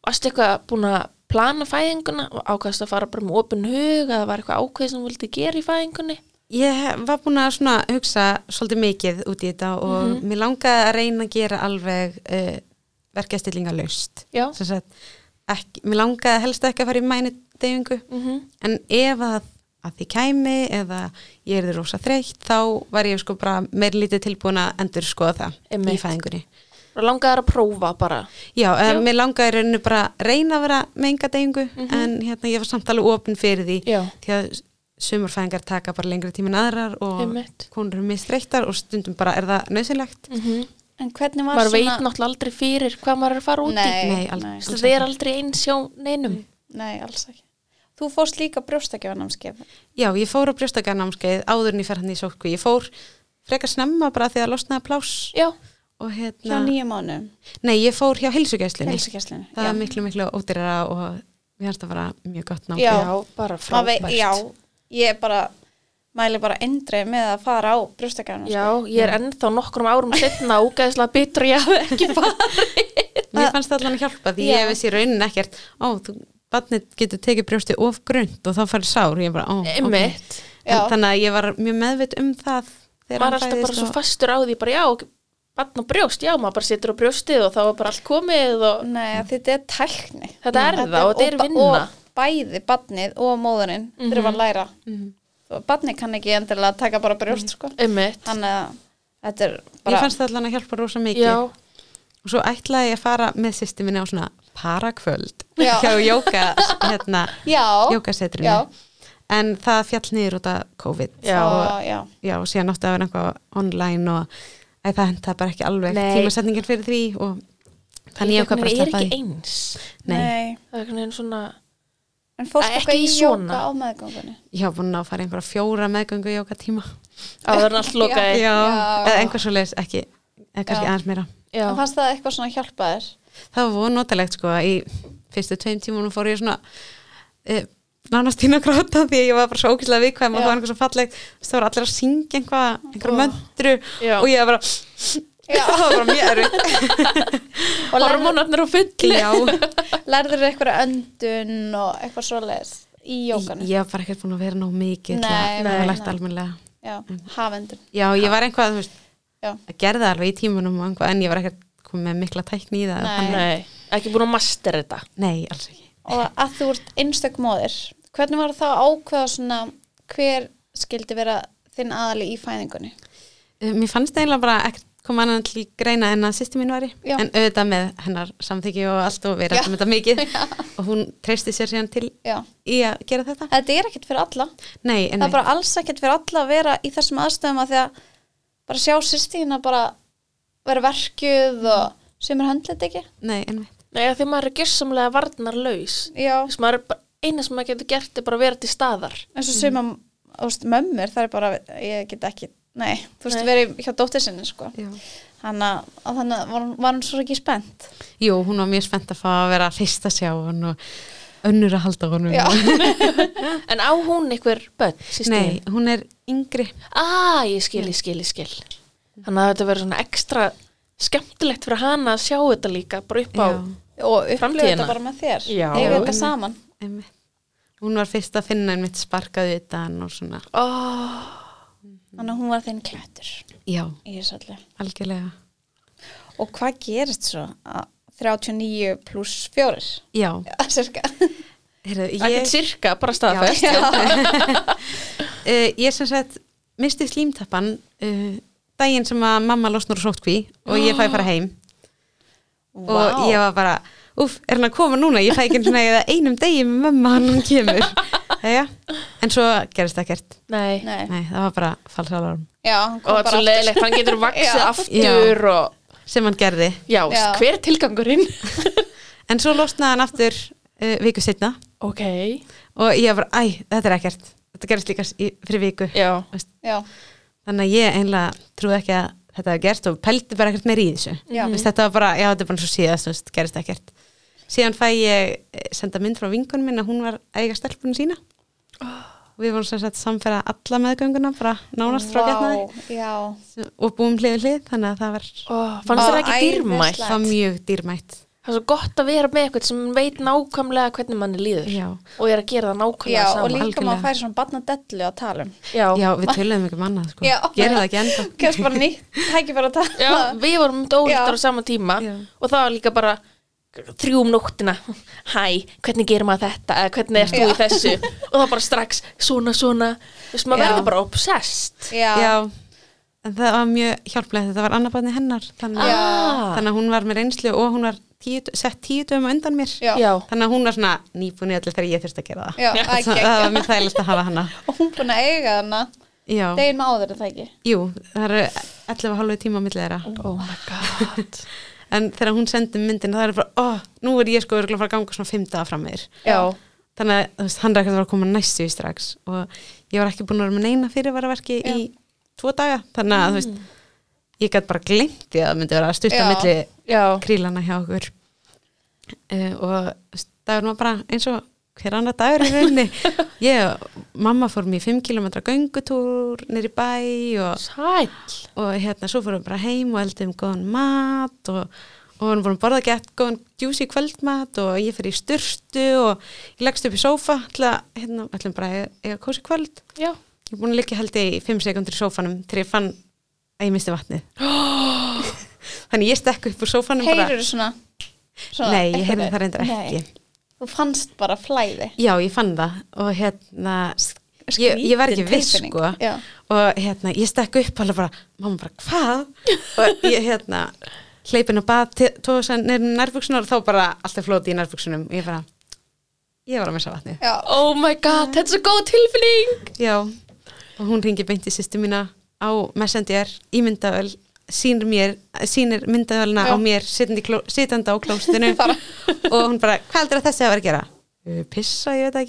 B: varstu eitthvað búin að plana fæðinguna og ákvæðast að fara bara með opin hug að það var eitthvað ákveð sem þú vildi gera í fæðingunni?
C: Ég var búin að svona hugsa svolítið mikið út í þetta og
B: Mhm.
C: mér langaði að reyna að gera alveg uh, verkefstillinga laust
B: Já.
C: Sem sagt, ekki, Mér langaði helst ekki að fara í mænudeyfingu
B: Mm -hmm.
C: en ef að, að því kæmi eða ég er rosa þreytt þá var ég sko bara meir lítið tilbúin að endur skoða það í
B: Einmitt.
C: fæðingunni
B: Og langaði þær að prófa bara.
C: Já,
B: Já. Mhm.
C: Já. mér langaði í rauninu bara að reyna að vera með enga deyingu en hérna ég var samt alveg opin fyrir því
B: Já.
C: því að sumarfæðingar taka bara lengri tíma en aðrar og
B: Einmitt.
C: konur eru mistreittar og stundum bara er það nöðsynlegt
B: Mm
A: Mhm.
B: -hmm.
A: En hvernig var
B: Maður veit
A: svona
B: náttúrulega aldrei fyrir hvað maður er að fara út í.
A: Nei,
C: Nei, aldrei.
A: nei,
B: Þú veist, Það er aldrei eins hjá neinum.
A: nei, alls ekki Þú fórst líka brjóstakjöfarnamskeið
C: Já, ég fór á brjóstaganámskeið áður en ég fer hann í sótkví, ég fór frekar snemma bara því að losnaði pláss
B: Já,
C: og
A: hjá
C: hérna,
A: nýju mánu
C: nei ég fór hjá heilsugæslinni
A: helsugæslinni
C: það er miklu miklu ódýrara og mér finnst það bara mjög gott námskeið
A: Já.
B: bara
A: Maður
B: frábært.
A: vei- Já, ég bara mæli bara endrið með að fara á brjóstakjöfarnamskeið
B: Já, ég er ennþá nokkrum árum setna úgeðslega bitur ég hafi ekki farið.
C: Mér fannst það allan að hjálpa því
A: Já.
C: ég vissi í raunin ekkert ó, þú, barnið getur tekið brjósti of grönt og þá farið sár, ég bara, ó, ok
B: Einmitt.
A: Já.
C: En, þannig að ég var mjög meðvitt um það þegar
B: Maður er
C: hann
B: alltaf bara
C: fæðist
B: svo
C: og
B: fastur á því, bara já, bann og brjóst, já, maður bara setur á brjóstið og þá er bara allt komið og
A: Nei, þetta er tækni
B: Þetta er það og þetta er
A: ba-
B: vinna. Mhm.
A: Og bæði badnið og móðurinn þurfa að læra mm. Badnið kann ekki endilega taka bara brjóst sko.
B: Mhm. einmitt.
A: Þannig að þetta er
C: mér
A: bara
C: fannst það allan að hjálpa rosa mikið
B: Já,
C: og svo ætlaði ég að fara með sýsti minni á svona parakvöld
A: Já.
C: hjá jóka hérna,
A: Já,
C: jókasetrinu
A: já,
C: en það fjall niður út af COVID
B: Já.
A: Svo- já.
C: já, og síðan átti að vera eitthvað online og æ, það henda bara ekki alveg
B: Nei.
C: tímasetningin fyrir því og þannig ég okkar bara að
B: er
C: sleppa
B: ekki
C: því
B: eins.
C: Nei,
A: Nei.
B: Það er einhvern veginn svona,
A: En fórst
B: Æ, ekki
A: eitthvað í
B: í
A: jóka
B: svona.
A: á meðgöngunni
C: ég hafa búin að fara í einhverja fjóra meðgöngu jóka tíma
B: áður en allt lokaði.
C: já,
A: Já.
C: eða einhver svo leis ekki, eða kannski
A: Já.
C: aðeins meira
B: Já,
A: En fannst það eitthvað svona hjálpa þér?
C: það var von notalegt sko í fyrstu tveim tímunum fór ég svona e, nánast hín að gráta því að ég var bara svo ókýrslega viðkvæm og
A: Já.
C: það var einhver svo fallegt það voru allir að syngja einhvað, einhver möndru
B: Já.
C: og ég var bara
A: Já.
C: það var bara mjög erfitt
A: Og
B: hormonarnir á fulli.
C: já,
A: lærður eitthvað öndun og eitthvað svoleiðis í jókanu
C: ég var bara ekkert búin að vera nóg mikið til
A: Nei,
C: að
A: nei,
C: hafa lært
A: nei.
C: almennilega
A: Já, hafendun
C: já, ég var einhvað, þú veist,
A: Já,
C: að gerða alveg í tímunum og einhvað, en ég var ekkert komið með mikla tækni í það
A: Nei.
C: þannig-
B: Nei, ekki búin að master þetta.
C: nei, alls ekki
A: og að þú ert einstök móðir hvernig var það að ákveða svona hver skildi vera þinn aðali í fæðingunni
C: Eh, Mér fannst eiginlega bara ekkert koma annan til greina en að sýsti mín væri
A: Já.
C: en auðvitað með hennar samþyggi og allt og við
A: Já.
C: rættum þetta mikið og hún treysti sér síðan til
A: já,
C: í að gera þetta
A: þetta er ekkert fyrir alla
C: Nei, en
A: það er bara alls ekkert fyrir alla að vera í þessum aðstöðum að því að bara sjá sýstíðina bara vera verkjuð og sem er höndlit ekki
C: Nei, en
B: Nei, af því maður er gersamlega varnarlaus.
A: já,
B: Þú veist, maður er bara, eina sem maður getur gert er bara að vera til staðar.
A: eins og sem að veist, mömmur það er bara, ég get ekki nei, þú veist,
B: Nei.
A: verið hjá dóttir sinni sko.
C: Já.
A: þannig að- að þannig að var, hún- var hún svo ekki spennt
C: Jú, hún var mjög spennt að fá að vera fyrst að sjá hann og önnur að halda honum
A: Já.
B: En á hún einhver börn, sýstir?
C: Nei, hún er yngri
B: Ah, ég skil, ég skil, ég skil. Þannig að þetta verður svona ekstra skemmtilegt fyrir hana að sjá þetta líka, bara upp á...
A: og upplöðu
B: Framtíðina.
A: þetta bara með þér
B: Já.
A: eiga þetta saman
C: einmitt. Hún var fyrst að finna einmitt sparkað utan og svona
B: Ó,
A: þannig að hún var þinn klættur
C: Já,
A: í þessu öllu
C: algjörlega
A: og hvað gerist svo að 39 pluss 4
C: Já,
A: cirka
C: Heyrðu,
B: ekkert sirka, bara staðfest.
C: uh, ég sem sagt misti slímtappan uh, daginn sem að mamma losnar úr sótkví og ég fæði fara heim og ég var bara uff, er hann að koma núna, ég fæði ekki einu sinni eða einum degi með mamma hann hann kemur Jæja. en svo gerist það gert
B: Nei.
A: Nei.
C: nei, það var bara falsalarm
A: já, hann
B: Og
A: kom bara
B: þetta er svo
A: aftur
B: leðilegt, hann getur vaksið
A: Já.
B: aftur og...
C: sem hann gerði,
B: Já,
A: Já.
B: hver er tilgangurinn?
C: en svo losnaði hann aftur uh, viku setna
B: ok.
C: og ég var bara, æ, þetta er ekkert þetta gerist líka s- í- fyrir viku
B: Já.
C: Veist,
A: já,
C: þannig að ég einlega trúi ekki að þetta hafi gerst og pældi bara ekkert meir í þessu
A: Já.
C: Þú veist, þetta var bara, já þetta er bara svo síðast þú veist, gerist ekkert síðan fæ ég eh, senda mynd frá vinkunum minn að hún var að eiga stelpunum sína og við vorum sem sagt samferða alla meðgönguna bara nánast frá getnaði
A: já,
C: og búum hlið við hlið þannig að það var,
B: oh, fannst
A: Ó,
B: þér ekki
A: æðislegt.
B: dýrmætt
C: það var mjög dýrmætt
B: það er svo gott að vera með eitthvað sem veit nákvæmlega hvernig manni líður
C: já,
B: og er að gera
A: já
B: það nákvæmlega
A: og
B: saman
A: líka maður
C: algjörlega.
A: færi svona barnadellu að tala um
B: já.
C: já við töluðum ekki um annað sko.
A: Já.
C: gera það ekki enda
A: kannski bara nýtt, tæki bara að tala um.
B: já, við vorum
A: Já.
B: dóltar á sama tíma
C: Já.
B: og það var líka bara þrjú um nóttina, hæ, hvernig gerir maður þetta eða hvernig ert þú í þessu og það bara strax, svona, svona þú veist, maður
A: Já.
B: verður bara obsessed
A: já,
C: já, en það var mjög hjálplegt þetta var annað barni hennar þannig,
A: Já.
B: Ah.
C: þannig að hún var með reynslu og hún var tíu, sett tíu dögum á undan mér
A: já,
B: já,
C: þannig að hún var svona nýbúin í allir þegar ég þurfti að gera það
A: Já, æ,
C: það,
A: geggjað.
C: það var mjög þægilegt að hafa hana
A: og hún búin að eiga hana
C: já,
A: deginum áður er það ekki
C: jú, það eru 11 og halvu tíma á milli
A: Mm.
C: þeirra
B: oh my god
C: en þegar hún sendi myndin það er bara, ó, nú er ég sko örugglega að fara að ganga svona fimm daga fram meir
B: já,
C: þannig að þú veist, hann er ekkert að fara að koma næstu í strax og ég var ekki búin að vera með neina fyrirvaraverki í tvo daga þannig að þú veist, ég gætt bara glemt því að það myndi vera að
A: Mm.
C: stutta
A: Já.
C: milli
B: já,
C: krílana hjá okkur uh, og þú veist, dagur var bara eins og hver annar dagur í rauninni ég og mamma fórum í 5 km göngutúr nýri bæ og,
B: sæl
C: og hérna svo fórum við bara heim og eldum góðan mat og, og vorum búin að borða gett góðan juicy kvöldmat og ég fer í styrstu og ég leggst upp í sófa til að, hérna, ætlum bara að eiga- eiga kósi kvöld
B: já,
C: ég er búin að liggja held ég í 5 sekundur í sófanum til ég fann að ég misti vatnið þannig ég stekk upp úr sófanum bara
A: heyrur svona, svona
C: Nei, ég
A: einhvern
C: heyrði
A: veginn?
C: það reyndar
A: Nei.
C: ekki.
A: þú fannst bara flæði
C: Já, ég fann það og hérna, ég, ég var ekki
A: Skrítin
C: viss
A: tilfinning.
C: sko
A: Já.
C: og hérna, ég stekk upp alveg bara, mamma bara, hvað? og ég hérna, hleypin á bað, tóðu sér nefnum nærfugsunar og þá bara alltaf flóti í nærfugsunum og ég bara, ég var að missa vatnið.
A: já,
B: oh my god, þetta er svo góð tilfinning
C: Já, og hún ringi beint í sýstu mína á messenger í myndaöl sýnir mér, sýnir myndaölna
A: Já.
C: á mér sitjandi, kló, sitjandi á klóstinu
A: Bara.
C: og hún bara, hvað heldur að þessi að vera að gera? "Uh, Pissa, ég veit það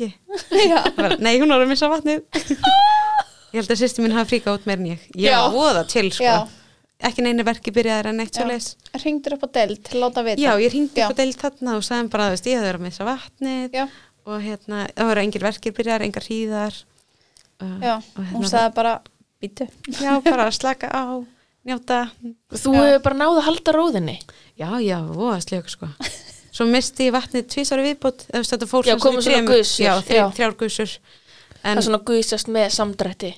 C: ekki
A: já.
C: bara, nei, hún var að missa vatnið ég held að sýsti mín hafa fríkað út meir en ég ég
B: Já.
C: var voða til, sko
A: Já.
C: ekki neina verki byrjaðar en eitt svo leis
A: ringdur upp á deild til að láta vita
C: já, ég hringdi
A: Já.
C: upp á deild þarna og sagði bara, þú veist, ég hefði verið að missa vatnið
A: já,
C: og hérna, það voru engir verkir byrjaðar engar hríðar uh,
A: já,
C: og
A: hún sagði bara býtu
C: já, bara að slaka á, njóta
B: þú hefur bara náð að halda róðinni
C: já, já, voða slök, sko svo misti ég vatnið tvísari viðbútt eða þetta fór
B: Já,
C: sem sagt í
B: komu svona
C: þremur-
B: gusur.
C: já,
B: Já.
C: þrjár, þrjár gusur
B: það
C: en
B: er svona guðsast með samdrætti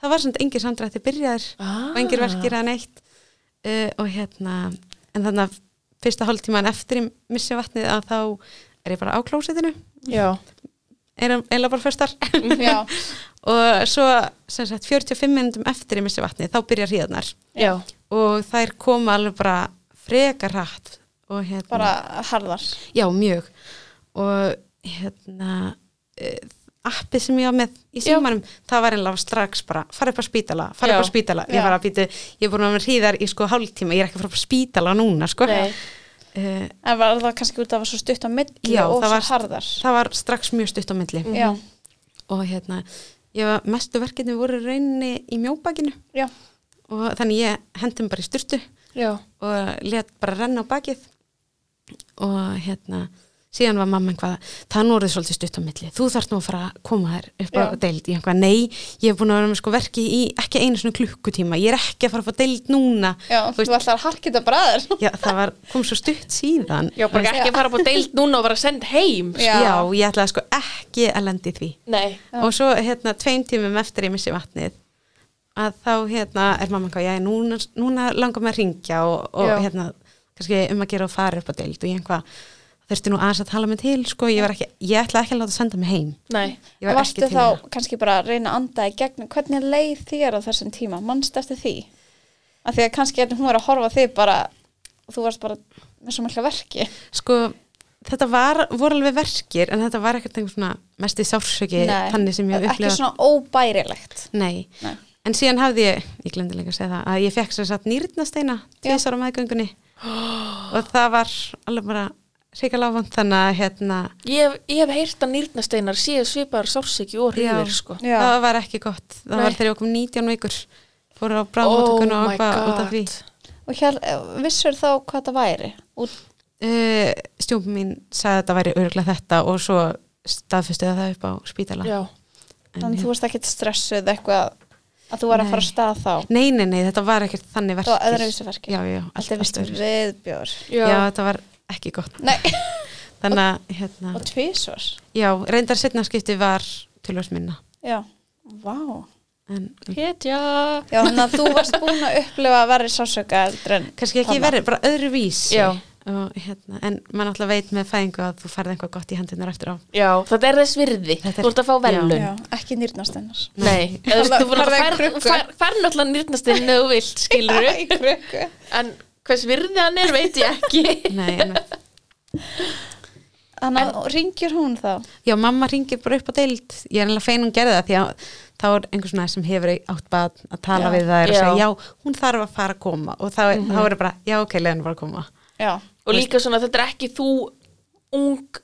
C: það var svona engir samdrætti byrjaðir
B: Ah.
C: og engir verkir að neitt uh, og hérna en þannig að fyrsta hálftíman eftir ég missi vatnið að þá er ég bara á klósitinu
B: já,
C: er eiginlega bara fyrstar
A: já,
C: og svo sem sagt 45 minnum eftir ég missi vatnið þá byrjar hríðarnar
B: já,
C: og þær koma alveg bara frekar hratt og hérna
A: bara harðar
C: já mjög og hérna uh, appið sem ég var með í
B: Já.
C: símanum það var einlega strax bara fara upp á spítala, fara
B: Já.
C: upp á spítala
A: Já.
C: ég var að býta, ég er búin að vera hríðar í sko hálftíma, ég er ekki að fara upp á spítala núna sko
B: Nei.
C: Eh,
A: en var það kannski út að það var svo stutt á milli
C: Já,
A: og
C: það
A: svo
C: var-
A: harðar
C: það var strax mjög stutt á milli
B: Mm.
A: já,
C: og hérna, ég var mestu verkefni voru í rauninni í mjóbakinu
A: já,
C: og þannig ég hendum bara í styrtu
B: já
C: og let bara renna á bakið og hérna síðan var mamma einhvað, það nú er þið svolítið stutt á milli, þú þarft nú að fara að koma þær upp á
A: Já.
C: deild, ég einhvað, nei ég hef búin að vera með sko verki í ekki einu svona klukkutíma ég er ekki að fara að fá deild núna
A: já,
C: Þú
A: þú ætlar að harkita bræður
C: já, það var, kom svo stutt síðan
B: Já, bara ekki að fara upp á deild núna og vera send heim.
A: Já.
C: já, ég ætlaði sko ekki að lendi því
B: Nei.
C: og svo hérna tveim tímum eftir ég missi vatnið að þá hérna er mamma eitthvað, já núna, núna langar maður að ringja og, og
B: Já.
C: hérna kannski um að gera og fara upp á deild og ég einhvað þurfti nú aðeins að tala mig til sko, ég, var ekki, ég ætla ekki að láta senda mig heim
B: Nei.
C: ég var
A: varstu
C: ekki til
A: þá
C: það
A: kannski bara að reyna að anda í gegnum hvernig leið þér á þessum tíma, mannst eftir því af því að kannski hérna hún var að horfa á þig bara, þú varst bara með svo mjög verki
C: sko, þetta var, voru alveg verkir en þetta var ekkert einhver svona mesti sársöki
A: Nei,
C: þannig sem ég
A: ekki
C: upplifa
A: svona óbærilegt
C: nei,
A: Nei.
C: en síðan hafði ég ég glemdi líka að segja það, að ég fekk sér satt nýrnasteina
A: Já.
C: tvisar á meðgöngunni og það var alveg bara reikalega vant þannig að hérna
B: Ég, hef- ég hef heyrt að nýrnasteinar séu svipaðar sársiki og hrýðir, sko.
A: Já.
C: það var ekki gott það
B: Nei.
C: var þegar ég kom 19 vikur fóru
A: Oh
C: á bráðmótökun og
B: Oh my
C: eitthvað út af því
B: god.
A: eh, og hér, vissur þá hvað það væri út,
C: uh, stjúpum mín sagði að þetta væri örgulega þetta og svo staðfustuði það upp á spítala
B: Já.
C: En
A: Þannig þú varst ekkit stressuð eitthvað að þú var að fara að
C: Nei.
A: stað þá.
C: Nei, nei, nei, þetta var ekkert þannig
A: Það var
C: verkir.
A: öðruvísi verkir.
C: Já, já, allt,
A: Alltaf
C: allt
A: vist
C: öðruvísi.
A: viðbjór.
C: Já.
B: Já.
C: þetta var ekki gott.
A: Nei,
C: Þannig að, hérna,
A: og tvísvar.
C: já, reyndar setna skipti var tölvöld minna.
A: Já, vá.
C: En
B: Hetja.
A: Já, þannig að þú varst búin að upplifa verri sásöka eldur en
C: kannski ekki
A: þarna.
C: verið, bara öðruvísi.
B: Já.
C: Og, hérna, en maður alltaf veit með fæðingu að þú færði eitthvað gott í handunar eftir á.
B: Já, þetta er þess virði.
C: Þetta er-
B: Þú ert að fá velun.
A: Já, ekki nýrnast hennar.
B: Nei, eða þú veist, þú
A: Farðu
B: verður
A: í
B: að
A: krukku.
B: fær náttúrulega nýrnastinn ef þú vilt, skilur
A: Í krukku.
B: en hvers virði hann er veit ég ekki
C: Nei, en,
A: Þannig að ringjur hún þá.
C: já, mamma ringir bara upp á deild. Ég er alveg fein hún gerði það því að þá er einhver svona sem hefur átt bad að tala
A: Já.
C: við það er að
B: Já.
C: segja, já, hún þarf að fara að koma og þá, þá er það bara, já, ok, leiðan bara að koma.
A: Já,
B: og líka svona þetta er ekki þú ung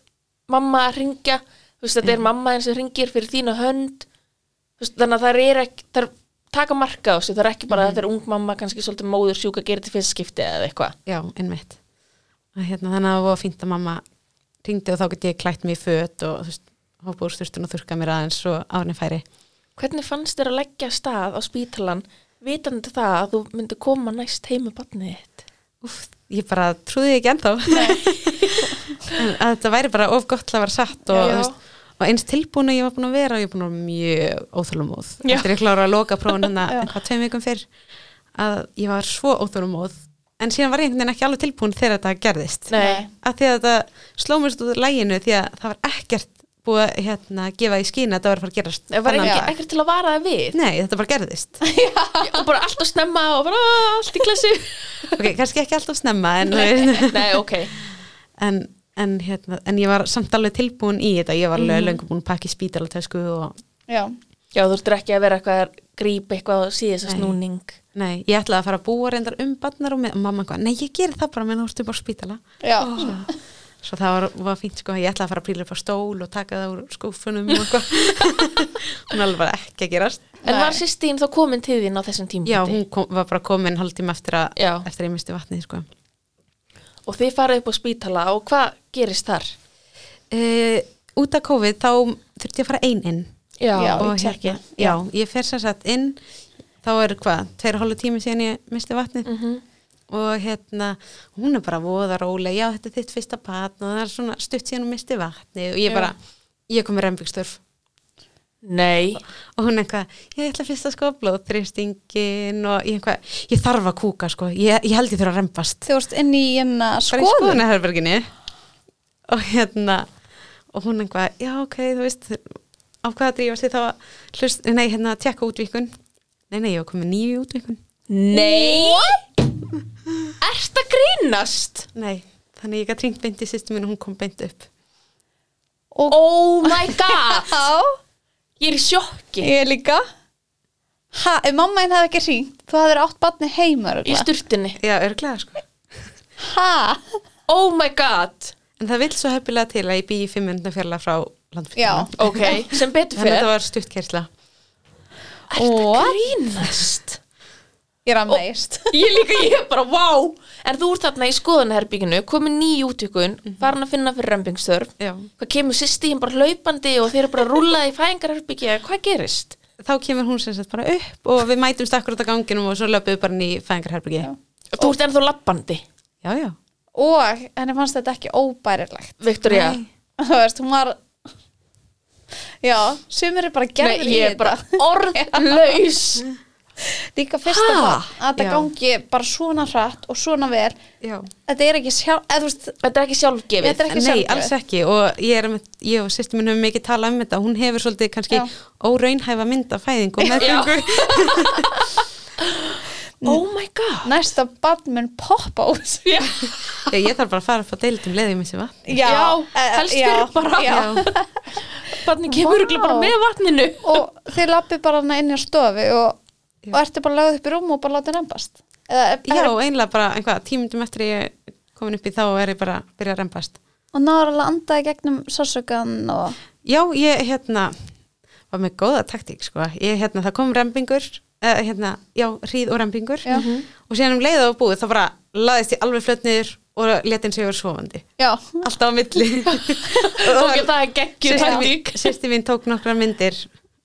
B: mamma að ringja þú veist þetta er mamma eins og ringir fyrir þína hönd þú veist, þannig að það er ekki það er taka marka á sig, það er ekki bara að þetta er ung mamma kannski svolítið móður sjúk að gera þetta í fyrsta skipti eða eitthvað
C: Já, einmitt. Að, hérna, þannig að það var fínt að mamma ringdi og þá geti ég klætt mér í föt og þú veist, hoppa úr styrstun og þurka mér aðeins og árni færi.
B: hvernig fannst þér að leggja af stað á spítalan vitandi það að þú myndi koma næst heimu barnið þitt
C: Úf, ég bara trúði því ekki ennþá. en að þetta væri bara of gott til að vera satt og,
B: Já.
C: þú veist, og eins tilbúin að ég var búin að vera og ég var búin að vera mjög óþólumóð.
B: Já.
C: Eftir ég klára að loka prófun hann
A: Já.
C: eitthvað tveim vikum fyrr að ég var svo óþólumóð. En síðan var ég einhvern veginn ekki alveg tilbúin þegar þetta gerðist.
A: Nei.
C: að því að þetta slómist út úr læginu því að það var ekkert búið að hérna, gefa í skín að þetta var að fara að gerast
B: það var
C: þennan
B: ekki,
C: dag.
B: ekki til að vara það við
C: Nei, þetta bara gerðist
B: og bara allt að snemma og bara "Ah, allt í klassu
C: Ok, kannski ekki alltaf snemma en, en,
B: nei, ok,
C: en, hérna, en ég var samt alveg tilbúin í þetta ég var
A: Mhm.
C: alveg löngu búin að pakka í spítalatösku og
A: já,
B: já þú ert ekki að vera eitthvað að grípa eitthvað og síða þess
C: Nei.
B: að snúning
C: nei, ég ætlaði að fara að búa reyndar um barnar og mamma eitthvað, nei ég geri það bara meðan þú ert upp á spítala
A: já.
C: svo það var, var fínt sko, ég ætlaði að fara að príla upp á stól og taka það úr skúfunum og eitthvað hún alveg bara ekki að gerast
B: en
A: Nei.
B: var sýstín þá komin til þín á þessum
C: Já,
B: tímapunkti
C: hún kom, var bara komin hálftíma eftir að
B: Já.
C: eftir að ég misti vatnið sko.
B: og þið farið upp á spítala og hvað gerist þar?
C: uh, Út af COVID þá þurfti ég að fara ein inn
B: já,
A: Já.
B: og,
A: í
C: hérna,
A: kirkju.
C: já, ég fer sér satt inn þá er hvað, tveir og hálfu tími síðan ég misti
A: Mhm.
C: vatnið
B: Mhm.
C: og hérna, hún er bara voða róleg já, þetta er þitt fyrsta batn og það er svona stutt síðan hún misti vatnið og
B: Já.
C: ég bara, ég kom í rembyggsturf
B: nei,
C: og hún eitthvað, ég ætla fyrst að sko blóðþrýstingin og ég eitthvað ég þarf að kúka sko, ég, ég held ég þurfa að rembast
A: Þú varst inn í hérna
C: bara í
A: skoðun.
C: skoðunarherberginni og hérna og hún einhvað, já ok, þú veist á hvað að drífa sig þá að hlust, nei, hérna, tjekka útvíkun nei, nei, ég var komið nýju í útvíkun
B: nei ert að grínast?
C: nei, þannig ég gæti ringt beint í sýstu mín og hún kom beint upp
A: Og
B: oh my god
A: já,
B: ég er í sjokki
A: ég líka. Ha, ef mamma einn hefði ekki ringt, þú hefði átt batni heima.
B: í
A: örugglega.
B: sturtunni,
C: já, örglega, sko
A: Ha,
B: oh my god
C: en það vil svo heppilega til að ég býi í fimm minna fjarlag frá
A: já.
C: landfyrkjum
B: ok, sem betur fyrir
C: þannig að þetta
B: ert
C: var stuttkersla
B: að grínast
A: Ég er að meist.
B: Ég líka, ég er bara, vá En þú ert þarna í skoðanaherbygginu komin nýj útvikun, farin að finna fyrir rembingstörf
C: já.
B: Hvað kemur sýsti hinn bara hlaupandi og þeir eru bara að rúlla í fæðingarherbyggi eða hvað gerist?
C: þá kemur hún sem sagt bara upp og við mætumst akkur út af ganginum og svo löpum við bara inn í fæðingarherbyggi já,
B: Þú ert ennþá lappandi,
C: já, já.
A: Og henni fannst þetta ekki óbærilegt.
B: Viktoria
C: Nei.
A: Þú veist, hún var... Já, sumir er bara gerður
B: Nei,
A: í
B: ég
A: þetta.
B: er bara orðlaus
A: Líka fyrst að
B: Ha?
A: það, að þetta
C: Já.
A: gangi bara svona hrætt og svona vel.
C: já.
A: Þetta er ekki sjálf... Eða, þú veist,
B: Þetta er ekki sjálfgefið
A: Þetta er ekki
C: Nei,
A: sjálfgefið.
C: alls ekki og ég, er, með- ég og sýstum minn hefur mikið talað um þetta hún hefur svolítið kannski
A: Já.
C: óraunhæfa mynd af fæðingu og meðgöngu
B: Oh my god
A: næsta barn mun poppa út.
B: Já,
C: Já, ég þarf bara að fara upp á deildum leðið mér sem vatn
A: Já, eh,
B: helst
A: já,
B: fyrir bara
A: já.
B: Þannig kemur wow.
A: Vá.
B: bara með vatninu
A: og þið lappið bara hana inn í stofu og, og ertu bara lögð upp í rúm og bara látið rembast eða,
C: Já,
A: eða,
C: einlega bara einhvað tímundum eftir að ég er komin upp í þá og er ég bara að byrja að rempast
A: og náður alveg að andaði gegnum sásökan og
C: Já, ég hérna var með góða taktík sko ég, hérna, það kom rempingur eh, hérna, já, hríð og rempingur
A: Já.
C: og síðan um leiða og búið þá bara laðist ég alveg flötniður og letin sig vera svovandi
A: Já.
C: alltaf á milli
B: Ok, það er geggjur taktík.
C: Sýsti mín tók nokkrar myndir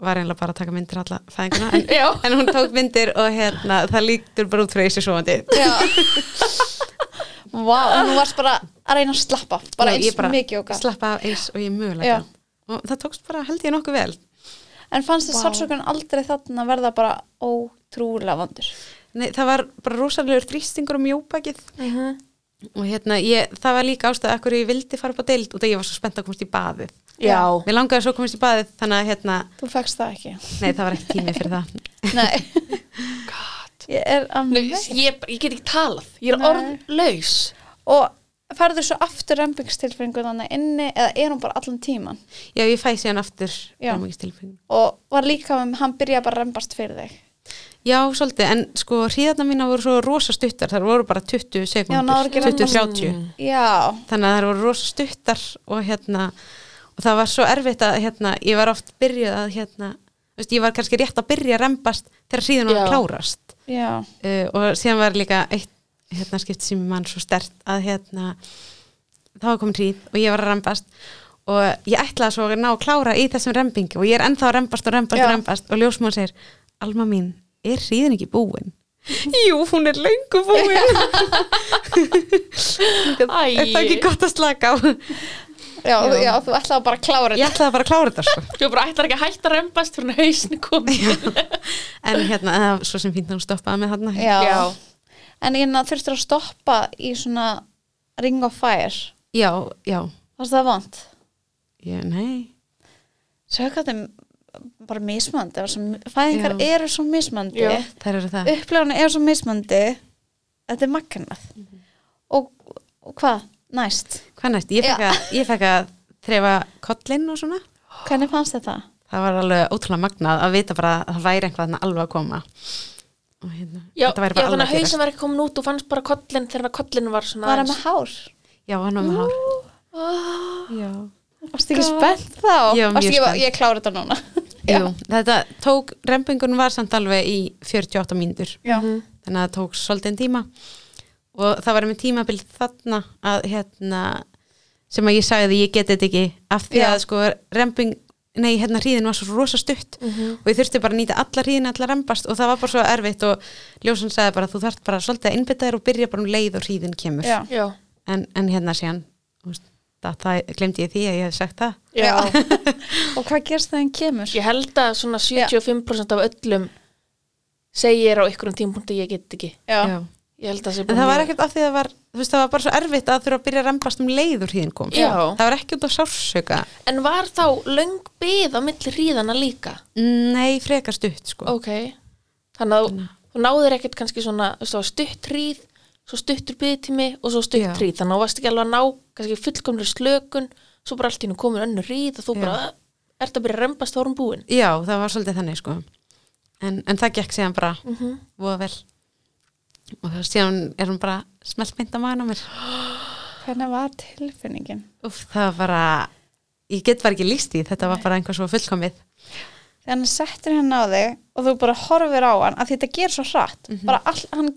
C: var eiginlega bara að taka myndir alla fæðinguna en,
B: Já.
C: en hún tók myndir og hérna það líktur bara út frá þessu svovandi
A: Já. Vá, og nú varst bara að reyna að slappa. Bara
C: Já, ég
A: eins mikið og galt.
C: slappa af eins og ég
A: Já.
C: mögulega gat. og það tókst bara held ég nokkuð vel
A: En fannst þið
B: Vá.
A: sátsökun aldrei þarna að verða bara ótrúlega vandur?
C: Nei, það var bara rosalegur þrýstingur um jópakið
B: Mhm.
C: og hérna, ég, það var líka ástæða ekkur ég vildi fara upp á deild út að ég var svo spennt að komast í baðið
B: Já.
C: mér langaði svo að komast í baðið þannig að hérna,
A: Þú fegst það ekki.
C: nei það var ekki tími fyrir það
A: Nei,
B: God.
A: ég er að
B: Nei, ég, ég get ekki talað. Ég er
A: Nei.
B: orðlaus.
A: Og færðu svo aftur rempingstilfingu þannig inni eða er hún bara allan tíman?
C: já, ég fæ síðan aftur
A: Já.
C: rámyggistilfinning
A: Og var líka um hann byrja bara að rembast fyrir þig?
C: já, svolítið, en sko hríðarna mína voru svo rosa stuttar, þar voru bara 20
A: náður
C: sekundur,
A: ekki rembast.
C: 20-30
A: Já,
C: þannig að þær voru rosa stuttar og hérna og það var svo erfitt að hérna, ég var oft byrjuð að hérna, þú veist, ég var kannski rétt að byrja að rembast þegar síðan var
B: Já.
C: að klárast
A: já,
C: uh, og síðan var líka eitt hérna skipt sem mann svo stert að hérna þá var komin hríð og ég var að rembast og ég ætlaði svo að ná að klára í þessum rembingi og ég er ennþá að rembast og rembast
A: Já.
C: og rembast og ljósmáð segir, Alma mín, er hríðin ekki búin? Jú, hún er löngu búin
B: Æ.
C: Er það ekki gott að slaka á?
A: já, já. þú ætlaði bara að klára
C: Ég ætlaði bara að klára þetta sko
B: Þú bara ætlar ekki að hætta að rembast fyrir hausinu komið.
C: En hérna, það var svo sem fínt að hún stoppaði með þarna
A: Já.
B: Já.
A: En ég þurftur að stoppa í svona ring of fire.
C: já, já.
A: Varst það vant?
C: Ég, nei
A: Sjá hvað það er bara mismandi. Fæðingar
C: Já.
A: eru svo mismandi.
B: Já.
C: Þær eru það
A: Upplifuna eru svo mismandi. Þetta er magnað. og, og hvað? Næst.
C: Hvað næst? Ég fekk,
A: Já.
C: að, ég fekk að þrefa kollinn og svona
A: Hvernig fannst þetta?
C: Það var alveg ótrúlega magnað að vita bara að það væri einhvað þarna alveg að koma og hérna,
B: Já, já
C: þetta væri bara
B: þannig
C: alveg
B: að
C: að
B: hausin
C: gera
B: var ekki komin út og fannst bara kollin þegar kollin var svona
A: Var það
B: aðeins-
A: með hár?
C: Já, hann var með hár
B: Ah,
C: Já
A: Varst ekki spennt þá?
C: Ég var mjög
A: Oh, Varstu ekki-
C: spennt.
A: Ég klára þetta núna.
C: Jú, þetta tók, rempingun var samt alveg í 48 mínútur
A: Já.
C: þannig að það tók svolítið en tíma og það var með tímabil þarna að hérna sem að ég sagði að ég geti þetta ekki af því
A: Já.
C: að sko remping nei hérna hríðin var svo rosa stutt
A: Mhm.
C: og ég þurfti bara að nýta alla hríðina allar rempast og það var bara svo erfitt og ljósan sagði bara þú þarft bara svolítið að innbytta þér og byrja bara um leið og hríðin kemur
A: Já.
B: Já,
C: en, en hérna síðan þú veist, það, það glemdi ég því að ég hef sagt það
B: já.
A: og hvað gerst þegar hann kemur?
B: Ég held að svona 75% af öllum segir á einhverjum tímpunkti ég get ekki.
A: Já.
B: Ég held að það sé
C: En
B: bara
C: það var
B: mjög-
C: ekkert af því að það var, þú veist, það var bara svo erfitt að þurfa að byrja að rempast um leið og hríðin kom.
B: Já.
C: Það var ekki út á sársöka.
B: En var þá löng byð á milli hríðana líka?
C: Nei, frekar stutt, sko.
B: Ok. Þannig að þú- þú náður ekkert kannski svona þú veist, það var stutt hríð, svo stuttur byðtími og svo stutt
C: Já.
B: hríð. Þannig að þú varst ekki alveg að ná kannski fullkomri slökun, svo bara allt í hennu komur önnur hríð og þú
C: Já.
B: bara "Ah, ert að byrja að rembast þá erum búin.
C: Já, það var svolítið þannig sko en, en það gekk síðan bara
B: Mm -hmm.
C: voða vel og það síðan er hún bara smelt mynd á maðurinn á mér
A: Hvernig var tilfinningin?
C: Úf, það var bara, ég get bara ekki líst í þetta var bara einhver svo fullkomið
A: Þegar hann settir henn á þig og þú bara horfir á hann að þetta ger svo hratt bara all, hann,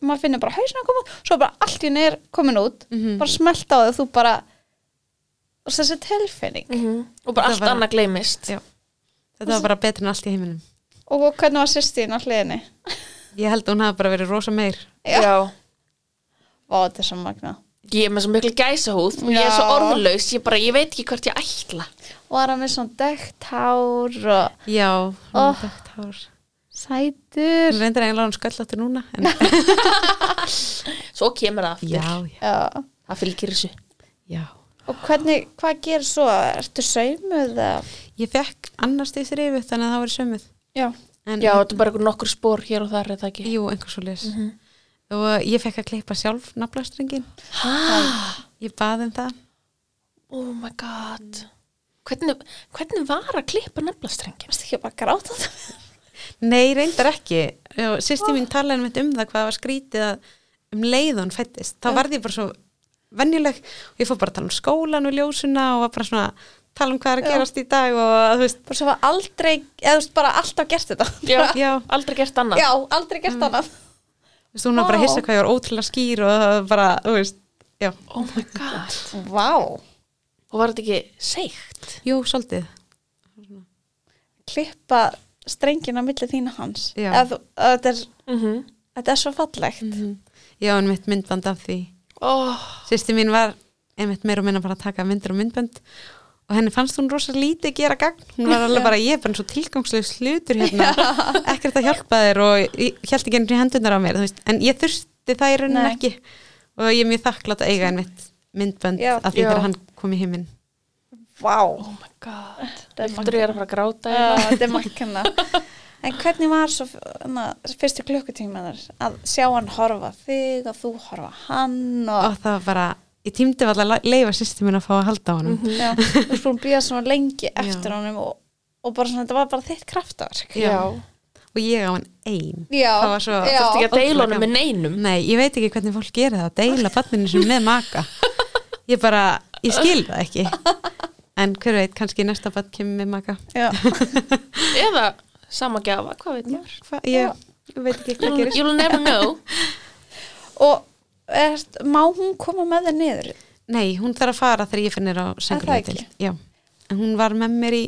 A: maður finnir bara hausna koma, svo bara allt í henni er komin út
C: Mhm.
A: bara smelt á þig og þú bara og þessi tilfinning
B: Mhm. Og bara
C: Það
B: allt
C: var-
B: annað gleymist.
C: Já. þetta var bara betur en allt í heiminum
A: og, hvernig var sýstíðin á hliðinni?
C: ég held að hún hafi bara verið rosa meir
A: Já.
B: Já.
A: Vá, þetta er svo magna
B: Ég er með svo miklu gæsahúð og ég er svo
A: Já.
B: orðlaus, ég bara, ég veit ekki hvert ég ætla.
A: og var hann með svona dögt hár og
C: já, hún
A: Oh.
C: oh. dækt hár
A: sætur Mhm.
C: hún reyndar eiginlega hún skölláttur núna en,
B: Svo kemur það aftur.
C: já, já,
A: Já.
B: Það fylgir þessu.
C: já
A: og hvernig, hvað gerir svo? Ertu saumuð? eða?
C: ég fekk annars því þér yfir þannig að það var sömuð
A: Já,
C: en,
B: Já, þetta er bara einhver nokkur spór hér og þar, er það ekki?
C: jú, einhver svo og uh, ég fekk að klippa sjálf naflastrengin,
B: Hæ?
C: ég baði um það
B: Oh my god. Hvernig, hvernig var að klippa nefnastrengin?
A: varst ekki bara að gráta þetta?
C: Nei, reyndar ekki. Sýsti mín talaði einmitt um það hvað það var skrítið að um leiðan fættist. Þá varði ég bara svo venjuleg og ég fór bara að tala um skólan og ljósuna og var bara svona að tala um hvað er að gerast í dag og að, þú veist,
A: bara svo var aldrei, eða þú veist bara alltaf gert þetta
B: Já,
A: Bara-
C: já.
B: aldrei gert annað.
A: já aldrei gert annað
C: þú veist, hún var uh, bara að hissa hvað ég var ótrúlega skýr og það var bara, þú veist, já.
B: Oh my god.
A: Vá,
B: Og var þetta ekki seikt?
C: Jú, svolítið.
A: klippa strengin á milli þína hans.
C: Já.
A: Eða, þú- að þetta, er,
B: Mm -hmm.
A: þetta er svo fallegt.
C: Mm. Já, en mitt myndband af því.
B: oh,
C: Sýsti mín var einmitt meir og minna bara að taka myndir og myndband og henni fannst hún rosa lítið gera gagn hún var alveg bara, ég er bara eins og tilgangslega slutur hérna, ekkert að hjálpa þér og ég held ekki henni hendunar á mér þú veist. en ég þurfti það í rauninu
A: Nei.
C: ekki og ég er mjög þakklátt að eiga einmitt myndband
A: Já.
C: af því
B: Já.
C: þegar hann kom í heiminn
A: Vá,
B: oh my god.
A: þetta er
B: Eftir ég er að fara að gráta.
A: Já, þetta er makkana. En hvernig var svo na, fyrstu klukkutímanar að sjá hann horfa þig og þú horfa hann og
C: og það var bara, ég tímdi alltaf að leifa sýsti mín að fá að halda á honum
A: já, þú skulum býða svona lengi
C: Já.
A: eftir honum og, og bara svona, þetta var bara þitt kraftverk.
C: Já. og ég á hann ein
A: Já,
C: það var svo,
A: já.
B: Þetta ekki að deila honum
C: Ótrúlega
B: með neinum.
C: Nei, ég veit ekki hvernig fólk gerir það að deila badminni sem með maka ég bara, ég skil það ekki en hver veit, kannski næsta bad kemur með maka
A: Já,
B: Eða sama gjafa, hvað veit maður?
C: Hva, ég, ég veit ekki hvað
B: You'll,
C: gerist
B: you'll never know.
A: og er, má hún koma með þér niður?
C: Nei, hún þarf að fara þegar ég finn hér á sengurleitild
A: ekki?
C: Já, en hún var með mér í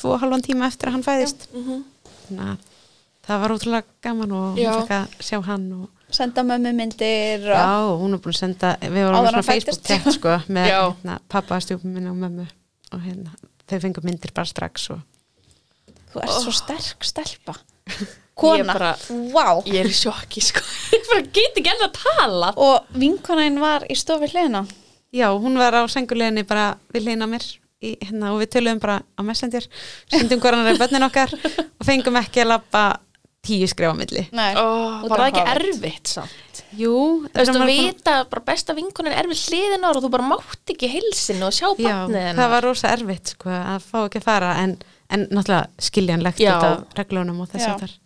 C: tvo og halvan tíma eftir að hann fæðist
A: mhm.
C: Þannig að það var ótrúlega gaman og hún
B: Já.
C: fekk að sjá hann og,
A: Senda mömmu myndir
C: Já,
A: og
C: hún er búin að senda við vorum
A: Áður
C: með
A: en
C: svona
A: hann fæddist.
C: Facebook tett sko, með
B: Já.
C: hérna, pappa, stjúpum minna og mömmu og hérna, þau fengu myndir bara strax og
A: þú ert svo sterk stelpa.
B: Ég
A: Kona,
B: bara-
A: vá.
B: Ég er í sjokki, sko. Ég bara get ekki enn að tala.
A: Og vinkonainn var í stofi hliðina.
C: Já, hún var á senguleginni bara við hliðina á mér í, hérna, og við töluðum bara á messendir sýndum hvernig hann er bönnin okkar og fengum ekki að lappa tíu skref á milli
A: Nei,
B: Oh,
A: út
B: bara
A: á
B: ekki
A: hafið.
B: erfitt samt
C: Jú,
B: Þú veist
C: þegar
B: að
C: maður er
B: vita bara besta vinkunin er við hliðin ára og þú bara mátt ekki heilsinu og sjá
C: búin- Já,
B: barnið hennar.
C: það var rosa erfitt sko, að fá ekki að fara en, en náttúrulega skiljanlegt
B: Já.
C: út af reglunum og þess
A: Já.
C: að þar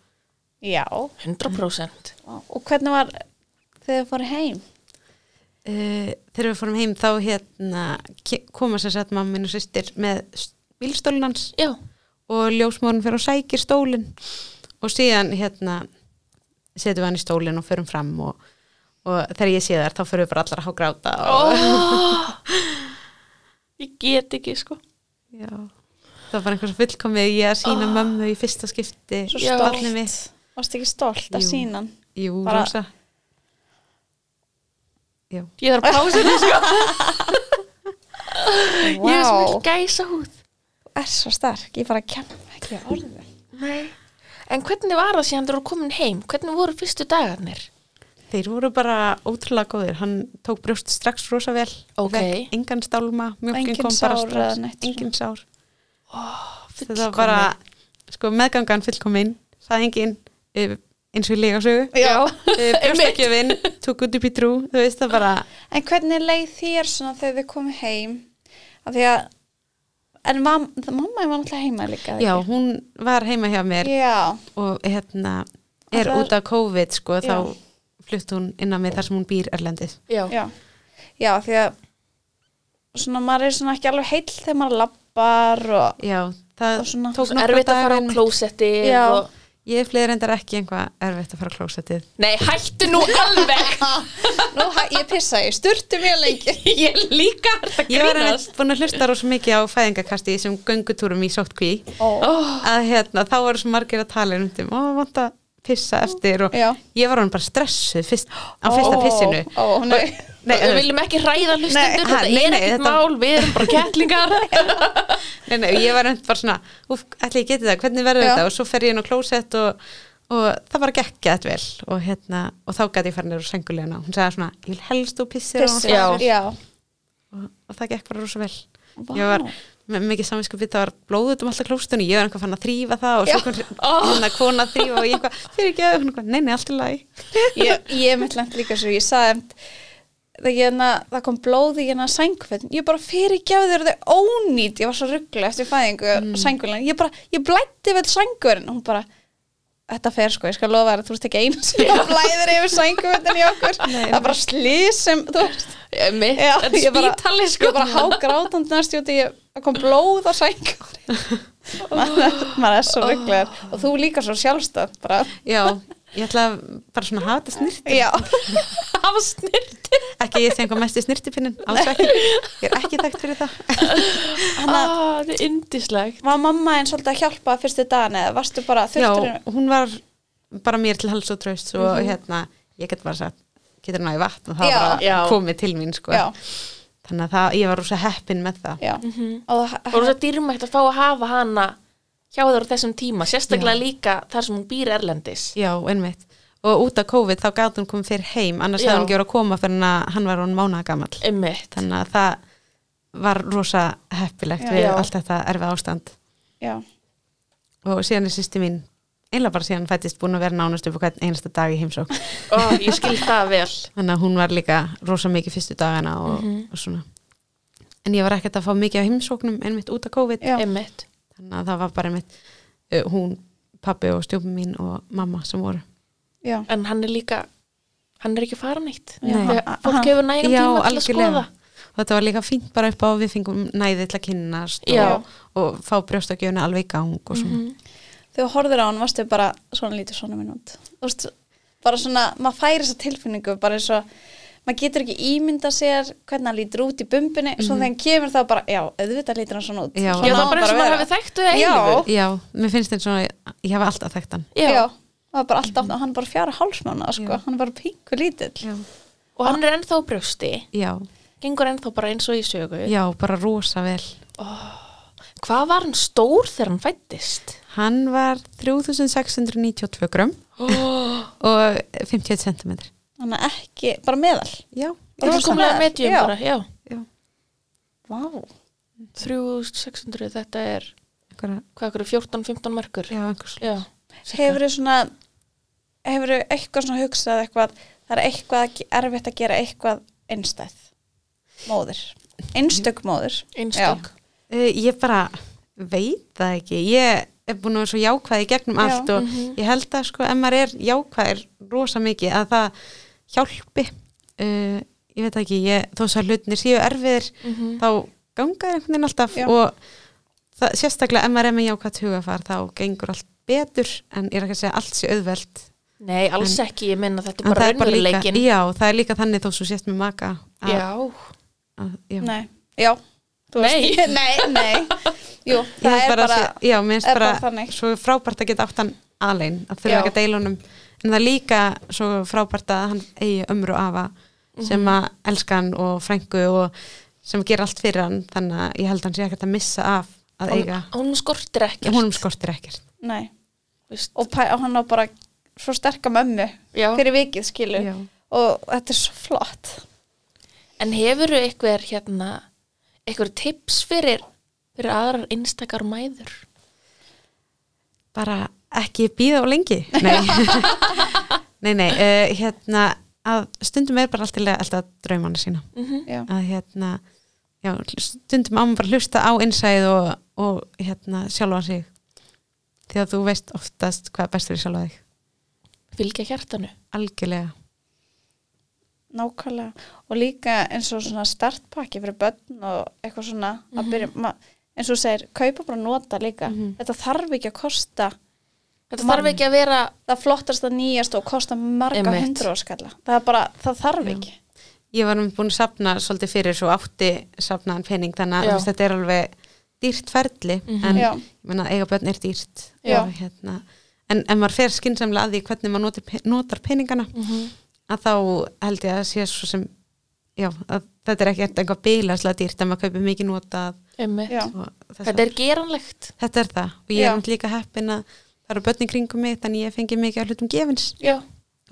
A: Já,
B: 100%
A: og hvernig var þegar þið fóru heim?
C: uh, Þegar við fórum heim þá hérna, ke- koma sér satt mamma minn og systir með bílstólin hans
B: Já,
C: og ljósmórun fyrir og sækir stólinn og síðan hérna setjum við hann í stólinn og förum fram og, og þegar ég sé þær þá förum við bara allar að hágráta og,
B: oh, Ég get ekki sko
C: já, það var bara einhvers fullkomið ég að sína mömmu í fyrsta skipti
A: Svo
B: Já.
A: stolt.
C: barnið mitt.
A: Varst ekki stolt að
C: Jú.
A: sína hann?
C: Jú,
A: Bara-
C: rosa Já,
B: Ég þarf að pása þetta sko
A: Vá,
B: Ég er sem ekki gæsa húð
A: er svo stark, ég bara kemur ekki að orðu.
B: Nei. En hvernig var það síðan þú eru komin heim? Hvernig voru fyrstu dagarnir?
C: þeir voru bara ótrúlega góðir hann tók brjóst strax rosa vel
B: Ok.
C: Fékk engan stálma, mjölkin
A: Engin
C: kom bara
A: sár eða
C: strax
A: neitt sko.
C: engin sár
B: Fullkomin.
C: þetta var bara sko, meðgangan fullkominn, sagði enginn eh, eins og í legasögu
A: Já.
C: brjóstakjöfin, Eh, tók út upp í trú þú veist það bara,
A: En hvernig leið þér svona þegar þið komið heim? Af því að, en mam, það- mamma þín var náttúrulega heima líka. eða
C: já,
A: ekki?
C: hún var heima hjá mér
A: Já,
C: og hérna er
A: Ætlar-
C: út af COVID sko,
A: Já.
C: þá flutt hún inn á mig þar sem hún býr erlendis
B: Já,
A: já. Já, af því að svona maður er svona ekki alveg heill þegar maður lappar og
C: já, það
A: Og svona-
C: tók nokkra
B: erfitt að fara á
C: einmitt.
B: klósetti
A: Já.
B: og...
C: ég fleiri reyndar ekki einhvað erfitt að fara á klósettið
B: Nei, hættu nú alveg
A: Ah, nú, hæ- ég pissa, ég sturti mjög lengi.
B: Ég líka þetta
C: ég var
B: grínast
C: einmitt búin að hlusta rosa mikið á fæðingakasti í þessum göngutúrum í sóttkví
A: Ó,
C: að hérna, þá voru svo margir að tala um þetta, ó, vant að pissa eftir og
A: Já.
C: ég var hann bara stressuð fyrst, á fyrsta pissinu
A: Ó, ó, nei.
C: Nei,
B: við viljum ekki ræða hlustendur,
C: Nei, ha,
B: þetta
C: nei,
B: er
C: nei,
B: ekkert
C: þetta-
B: mál, við erum bara kettlingar.
C: nei, nei, ég var einmitt bara svona úf, ætli ég geti það, hvernig verður
A: Já.
C: þetta og svo fer ég inn á klósett og, og það var gekk gett vel og hérna, og þá gæti ég farin úr sengulegina, hún sagði svona, ég vil helst þú pissir
A: Pissa,
C: og,
B: Já.
A: já.
C: og, og það gekk bara rosa vel
A: Vá.
C: ég var með mikið samvinskupið, það var blóðut um alltaf klóstunni, ég var einhver fann að þrýfa það og svo kom hérna kona að þrýfa og ég einhvað, fyrir ekki að, nei, nei, allt í lagi
A: ég, ég mitt lent líka svo, ég sagði einmitt, það, hérna, það kom blóð í hérna sængfötn, ég bara fyrirgefði þér þau ónýtt, ég var svo ruggla eftir fæðingu mm. sængulinn, ég bara, ég blætti vel sængurinn, hún bara þetta fer sko, ég skal lofa þér að þú veist ekki einu sem það blæðir yfir sængfötn í okkur það er bara slísum, þú veist
B: Mitt,
A: Já,
B: þetta
A: ég bara-
B: spítali
A: ég
B: sko.
A: bara hágrátandi næst út í það kom blóð á sængurinn maður maður er svo rugglegar og þú líka svo sjálfstætt bara,
C: já, ég ætla að bara svona hafa þetta snýrt
A: já
B: hafa snirti
C: Ekki ég sé einhver mesti snirtipinnin, alls ekki. Ég er ekki þekkt fyrir það.
A: Þannig að
B: ah, Það er indislegt
A: var mamma einn svolítið að hjálpa fyrstu dagana eða varstu bara
C: Já,
A: þurftur henni?
C: hún var bara mér til hals og tröst og hérna, ég get bara sagt, getur hann á í vatn og það
A: Já.
C: var
B: Já.
C: að komið til mín, sko.
A: Já,
C: Þannig að það, ég var rosa heppin með það.
A: já.
B: Mhm.
A: Og það-
B: Og það er dýrmægt að fá að hafa hana hjá þér á þessum tíma, sérstaklega
C: Já.
B: líka þar sem hún býr erlendis
C: Já, einmitt. Og út af COVID þá gátt hún kom fyrir heim, annars
B: Já.
C: hefði hún ekki voru að koma fyrir hann að hann var hún mánaða gamall.
B: Einmitt.
C: Þannig að það var rosa heppilegt
A: Já.
C: við
B: Já.
C: allt þetta erfið ástand.
A: já.
C: Og síðan er sýsti mín, einlega bara síðan fættist búin að vera nánast upp á hvern einasta dag í heimsók.
B: Ó, ég skil það vel
C: Þannig að hún var líka rosa mikið fyrstu dagana og,
B: Mhm.
C: og svona. En ég var ekkert að fá mikið á heimsóknum einmitt út af COVID.
A: Já.
B: Einmitt.
C: Þannig að það var bara einmitt uh, hún, pabbi og stjúpum mín og mamma sem voru.
A: já.
B: En hann er líka, hann er ekki farin eitt
C: Nei.
B: Þegar Fólk hefur nægum tíma til að skoða
C: og þetta var líka fínt bara upp á að við fengum næði til að kynnast
B: Já. Mhm.
C: og, og fá brjóstakjöfuna alveg í gang og svona.
A: Þegar þú horfir á hann, varstu bara svona lítið svona minn út. Þú veist, bara svona, maður færi þessa tilfinningu, bara eins og, maður getur ekki ímynda sér hvernig hann lítur út í bumbunni, svo þegar hann kemur þá bara, já, auðvitað lítur hann svona út.
C: Mhm. Já.
A: Svona
B: Já, það
A: má
B: er bara eins og maður
A: vera.
B: hafi þekktu það
A: Já.
B: einu
C: Já, mér finnst þetta svona ég hafa alltaf þekkt hann
A: Já. það var bara alltaf, hann er bara fjara hálsmána, sko,
C: Já.
A: hann er bara pingu lítill.
C: Já,
B: Og hann er ennþá á brjósti
C: já,
B: Gengur ennþá bara eins og í sögu
C: bara rosa vel
B: Hvað var hann stór þegar hann fættist?
C: Hann var 3692 grum
B: Oh.
C: og 51 cm
A: Þannig að ekki, bara meðal.
C: Já,
A: Rosa.
B: Fullkomlega medium
A: Já.
B: bara, já
C: já,
A: Vá.
B: 3600, þetta er
C: einhverja,
B: hvað okkur, 14-15 merkur
C: já, einhvers
B: já.
A: Hefur þau svona, hefur þau eitthvað svona hugsað eitthvað, það er eitthvað ekki- erfitt að gera eitthvað einstæð. Móðir. Einstök móðir.
B: einstök
C: Uh, ég bara veit það ekki. Ég er búin að vera svo jákvæð í gegnum
A: Já. Mhm.
C: allt og ég held að sko, ef maður er jákvæðir rosa mikið að það hjálpi. Uh, ég veit það ekki, ég, þó svo að hlutinir séu erfiðir,
B: Mhm.
C: þá ganga þær einhvern veginn alltaf
A: Mhm. Já.
C: og það, sérstaklega ef maður er með jákvæðt hugafar þá gengur allt betur en ég er ekki að segja að allt sé auðveld.
B: nei, alls ekki, ég minna þetta
C: En
B: er bara
C: það er bara líka,
B: raunveruleikin
C: já, það er líka þannig þó svo sést með maka. Að,
B: já,
C: Að, já.
A: Nei, já þú
B: Nei.
A: veist. Nei, nei Jú,
C: Ég
A: það
C: held
A: er bara
C: bara, bara, já, mér
A: er
C: finnst bara,
A: bara þannig.
C: svo frábært að geta átt hann alein, að þurfa
A: Já.
C: ekki að deila honum en það er líka svo frábært að hann eigi ömru og afa sem að elska hann og frængu og sem gera allt fyrir hann þannig að ég held að hann sé ekkert að missa af að eiga,
B: hún skortir ekki
C: honum skortir ekkert
A: Nei,
B: Veist,
A: og pæ, og hann á bara svo sterka mömmu
B: já.
A: fyrir vikið skilu
C: Já.
A: og þetta er svo flott
B: en hefur eitthvað hérna, eitthvað tips fyrir fyrir aðrar einstakar mæður
C: bara ekki býða á lengi nei, nei, nei uh, hérna að stundum er bara alltaf alltaf draumana sína
A: Já,
C: að hérna já, stundum á maður bara að hlusta á innsæð og, og hérna sjálfa sig því að þú veist oftast hvað er best fyrir sjálfa þig
B: fylgja hjartanu
C: algjörlega
A: nákvæmlega og líka eins og svona startpakki fyrir börn og eitthvað svona að byrja, ma, eins og þú segir, kaupa bara nota líka þetta þarf ekki að kosta
B: þetta þarf ekki að vera
A: það flottast að nýjast og kosta marga
B: Einmitt.
A: hundru á skalla það er bara, það þarf ekki
C: ég var um búin að safna svolítið fyrir svo átti safnaðan pening þannig að
B: Já.
C: þú veist, þetta er alveg dýrt ferli en
A: Mhm. Já.
C: ég meina eiga börn er dýrt
A: Já.
C: og hérna en ef maður fer skinsamlega að því hvernig maður notar, pe- notar peningana að þá held ég að sé svo sem já, að þetta er ekki eitthvað bílaslega dýrt en maður kaupir mikið notað
B: einmitt.
A: Já.
C: og þess
B: þetta er geranlegt
C: þetta er það og ég
A: Já.
C: er náttúrulega líka heppin að það eru börn í kringum mig þannig ég fengi mikið af hlutum gefins
B: já,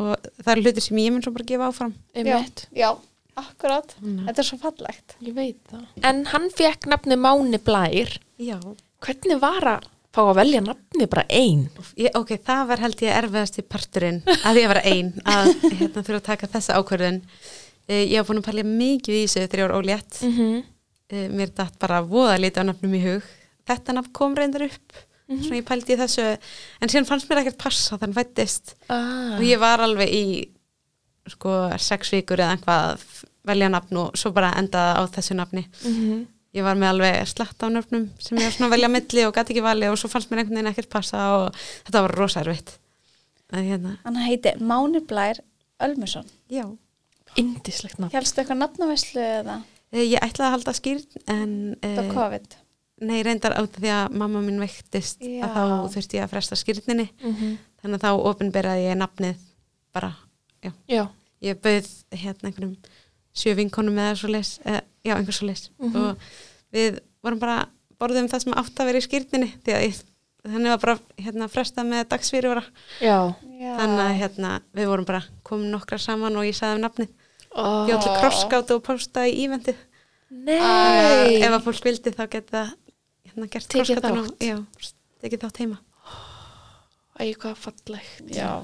C: og það eru hlutir sem ég mun svo bara gefa áfram
B: einmitt
A: Já, já, akkurat Þetta er svo fallegt
B: ég veit það en hann fekk nafni Máni Blær
C: já,
B: hvernig var að fá að velja nafni bara ein
C: ég, ok, það var held ég erfiðasti parturinn að ég var ein að hérna þurfa að taka þessa ákvörðun Eh, ég var búin að palja mikið í þessu þegar ég var ólétt mm
B: -hmm.
C: mér datt bara voða lítið á nafnum í hug þetta nafn kom reyndar upp svona ég pældi í þessu en síðan fannst mér ekkert passa þannig fættist
B: ah.
C: og ég var alveg í sko sex vikur eða eitthvað að f- velja nafn og svo bara endaði á þessu nafni
B: Mhm.
C: ég var með alveg slatt á nöfnum sem ég var svona að velja á milli og gæti ekki valið og svo fannst mér einhvern veginn ekkert passa og þetta var rosa erfitt að hérna,
A: Hann heiti Máni Blær Ölmusson
C: já,
B: Indislegt nafn.
A: Hélstu eitthvað nafnaveislu eða
C: Eh, Ég ætlaði að halda skýrn en
A: þetta
C: eh,
A: COVID?
C: nei, reyndar á því að mamma mín veiktist
A: Já.
C: að þá þurfti ég að fresta skýrninni
B: Mm
C: þannig að þá opinberaði ég nafnið bara, já,
B: Já.
C: ég bauð hérna einhverjum sjö vinkonum eða svo leis, já, einhver svo leis
B: Mhm.
C: og við vorum bara borðum það sem átt að vera í skýrninni því að ég, þannig var bara hérna frestað með dagsfyrirvara,
B: Já.
A: Já.
C: þannig að hérna við vorum bara komin nokkra saman og ég sagði um nafnið,
B: Oh.
C: ég allir krosskáta og postaði í íventið
B: Nei.
C: ef að fólk vildi þá geta það hérna gert
B: Tekið
C: krossgátuna
B: þátt.
C: og- já, tekið þátt heima
B: Æ, hvað fallegt.
A: Já.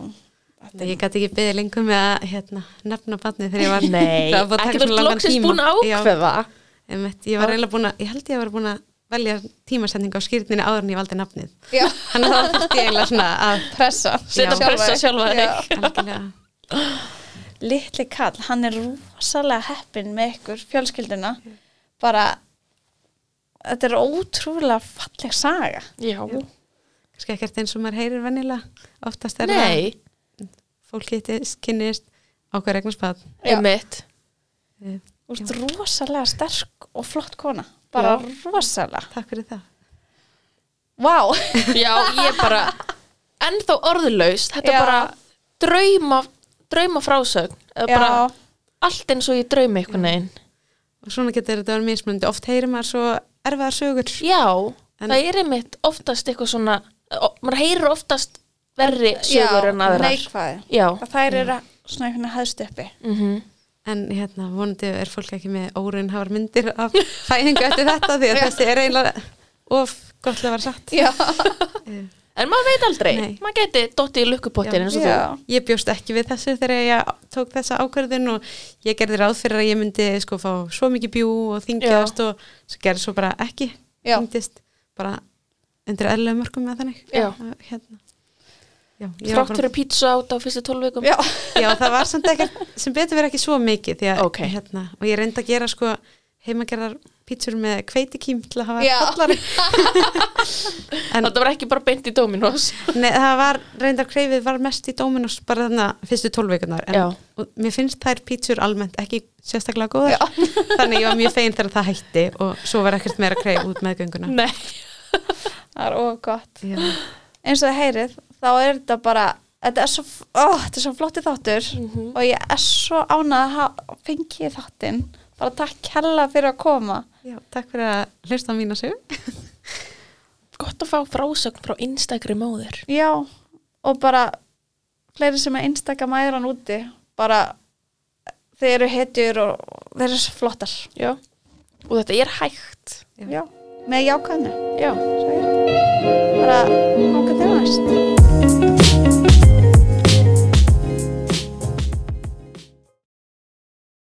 C: ég gæti ekki beðið lengur með að hérna, nefna barnið þegar ég var
B: Nei,
C: það var búið að taka
B: ekki
C: svo
B: verið
C: langan
B: loksins
C: tíma.
B: búin að
C: Já,
B: ákveða.
C: einmitt, ég var eiginlega búin að, ég held ég að vera búin að velja tímasetning á skýrninni áður en ég valdi nafnið
A: Já.
C: þannig að það þurfti ég eiginlega svona að
A: Pressa.
B: Setja
A: Sjálfa
B: pressa
A: þig.
B: sjálfa þig.
A: Já.
C: algjörlega
A: litli kall, hann er rosalega heppin með ykkur fjölskylduna bara þetta er ótrúlega falleg saga
B: Já.
C: kannski ekkert eins og maður heyrir venjulega oftast er
B: Nei,
C: það fólk hittist, kynnist ákveð regnarsbad
A: Já.
B: einmitt.
A: Þú ert rosalega sterk og flott kona bara
B: Já.
A: rosalega
C: takk fyrir það
A: Vá,
B: Já, ég bara, ennþá orðlaust, þetta
A: Já.
B: bara drauma, drauma frásögn.
A: Já.
B: Bara allt eins og ég draumi einhvern veginn.
C: og svona getur þetta verið mismunandi oft heyrir maður svo erfiðar sögur
B: Já,
C: En-
B: það er einmitt oftast eitthvað svona, o- maður heyrir oftast verri sögur en aðrar.
A: neikvæði
B: Já.
A: að þær eru svona einhvern veginn hæðst uppi
B: Mm
C: En hérna, vonandi er fólk ekki með óraunhafar myndir af fæðingu eftir þetta því að þessi er eiginlega of gott að vera satt.
A: Já,
C: Eh,
B: En maður veit aldrei,
C: Nei.
B: maður geti dottið í lukkupottin eins og þú.
A: já,
C: Ég bjóst ekki við þessu þegar ég tók þessa ákvörðun og ég gerði ráð fyrir að ég myndi sko fá svo mikið bjú og þingjast og svo gerði svo bara ekki
A: Já.
C: þingdist bara undir eðlega mörgum með þannig.
B: Já.
C: Að, Hérna. Já, ég var
B: Þrátt
C: bara-
B: fyrir pizza át á fyrstu tólvikum.
A: já.
C: Já, það var samt ekkert, sem betur verið ekki svo mikið því að,
B: Ok.
C: hérna, og ég reyndi að gera sko heimagerðar pítsur með kveitikím til að hafa
A: Já.
C: fallari en
B: Þetta var ekki bara beint í Dominos.
C: nei, það var, reyndar kreifið var mest í Dominos bara þarna fyrstu tólveikunar en
B: Já.
C: og mér finnst þær pítsur almennt ekki sérstaklega góðar, þannig ég var mjög fegin þegar það hætti og svo var ekkert meira kreif út meðgönguna
B: Nei.
A: það er of gott
C: Já,
A: eins og það heyrið, þá er þetta bara þetta er svo, ó, þetta er svo flotti þáttur og ég er svo ánað að fengi ég þáttinn bara takk hella fyrir að koma
C: já, takk fyrir að hlusta á mína sög
B: Gott að fá frásögn frá einstakri móður.
A: já, og bara fleiri sem er einstakka mæran úti bara þeir eru hetjur og þeir eru svo flottar
B: Já. Og þetta er hægt.
A: já, með jákvæðinu
B: Já.
A: Svo er- bara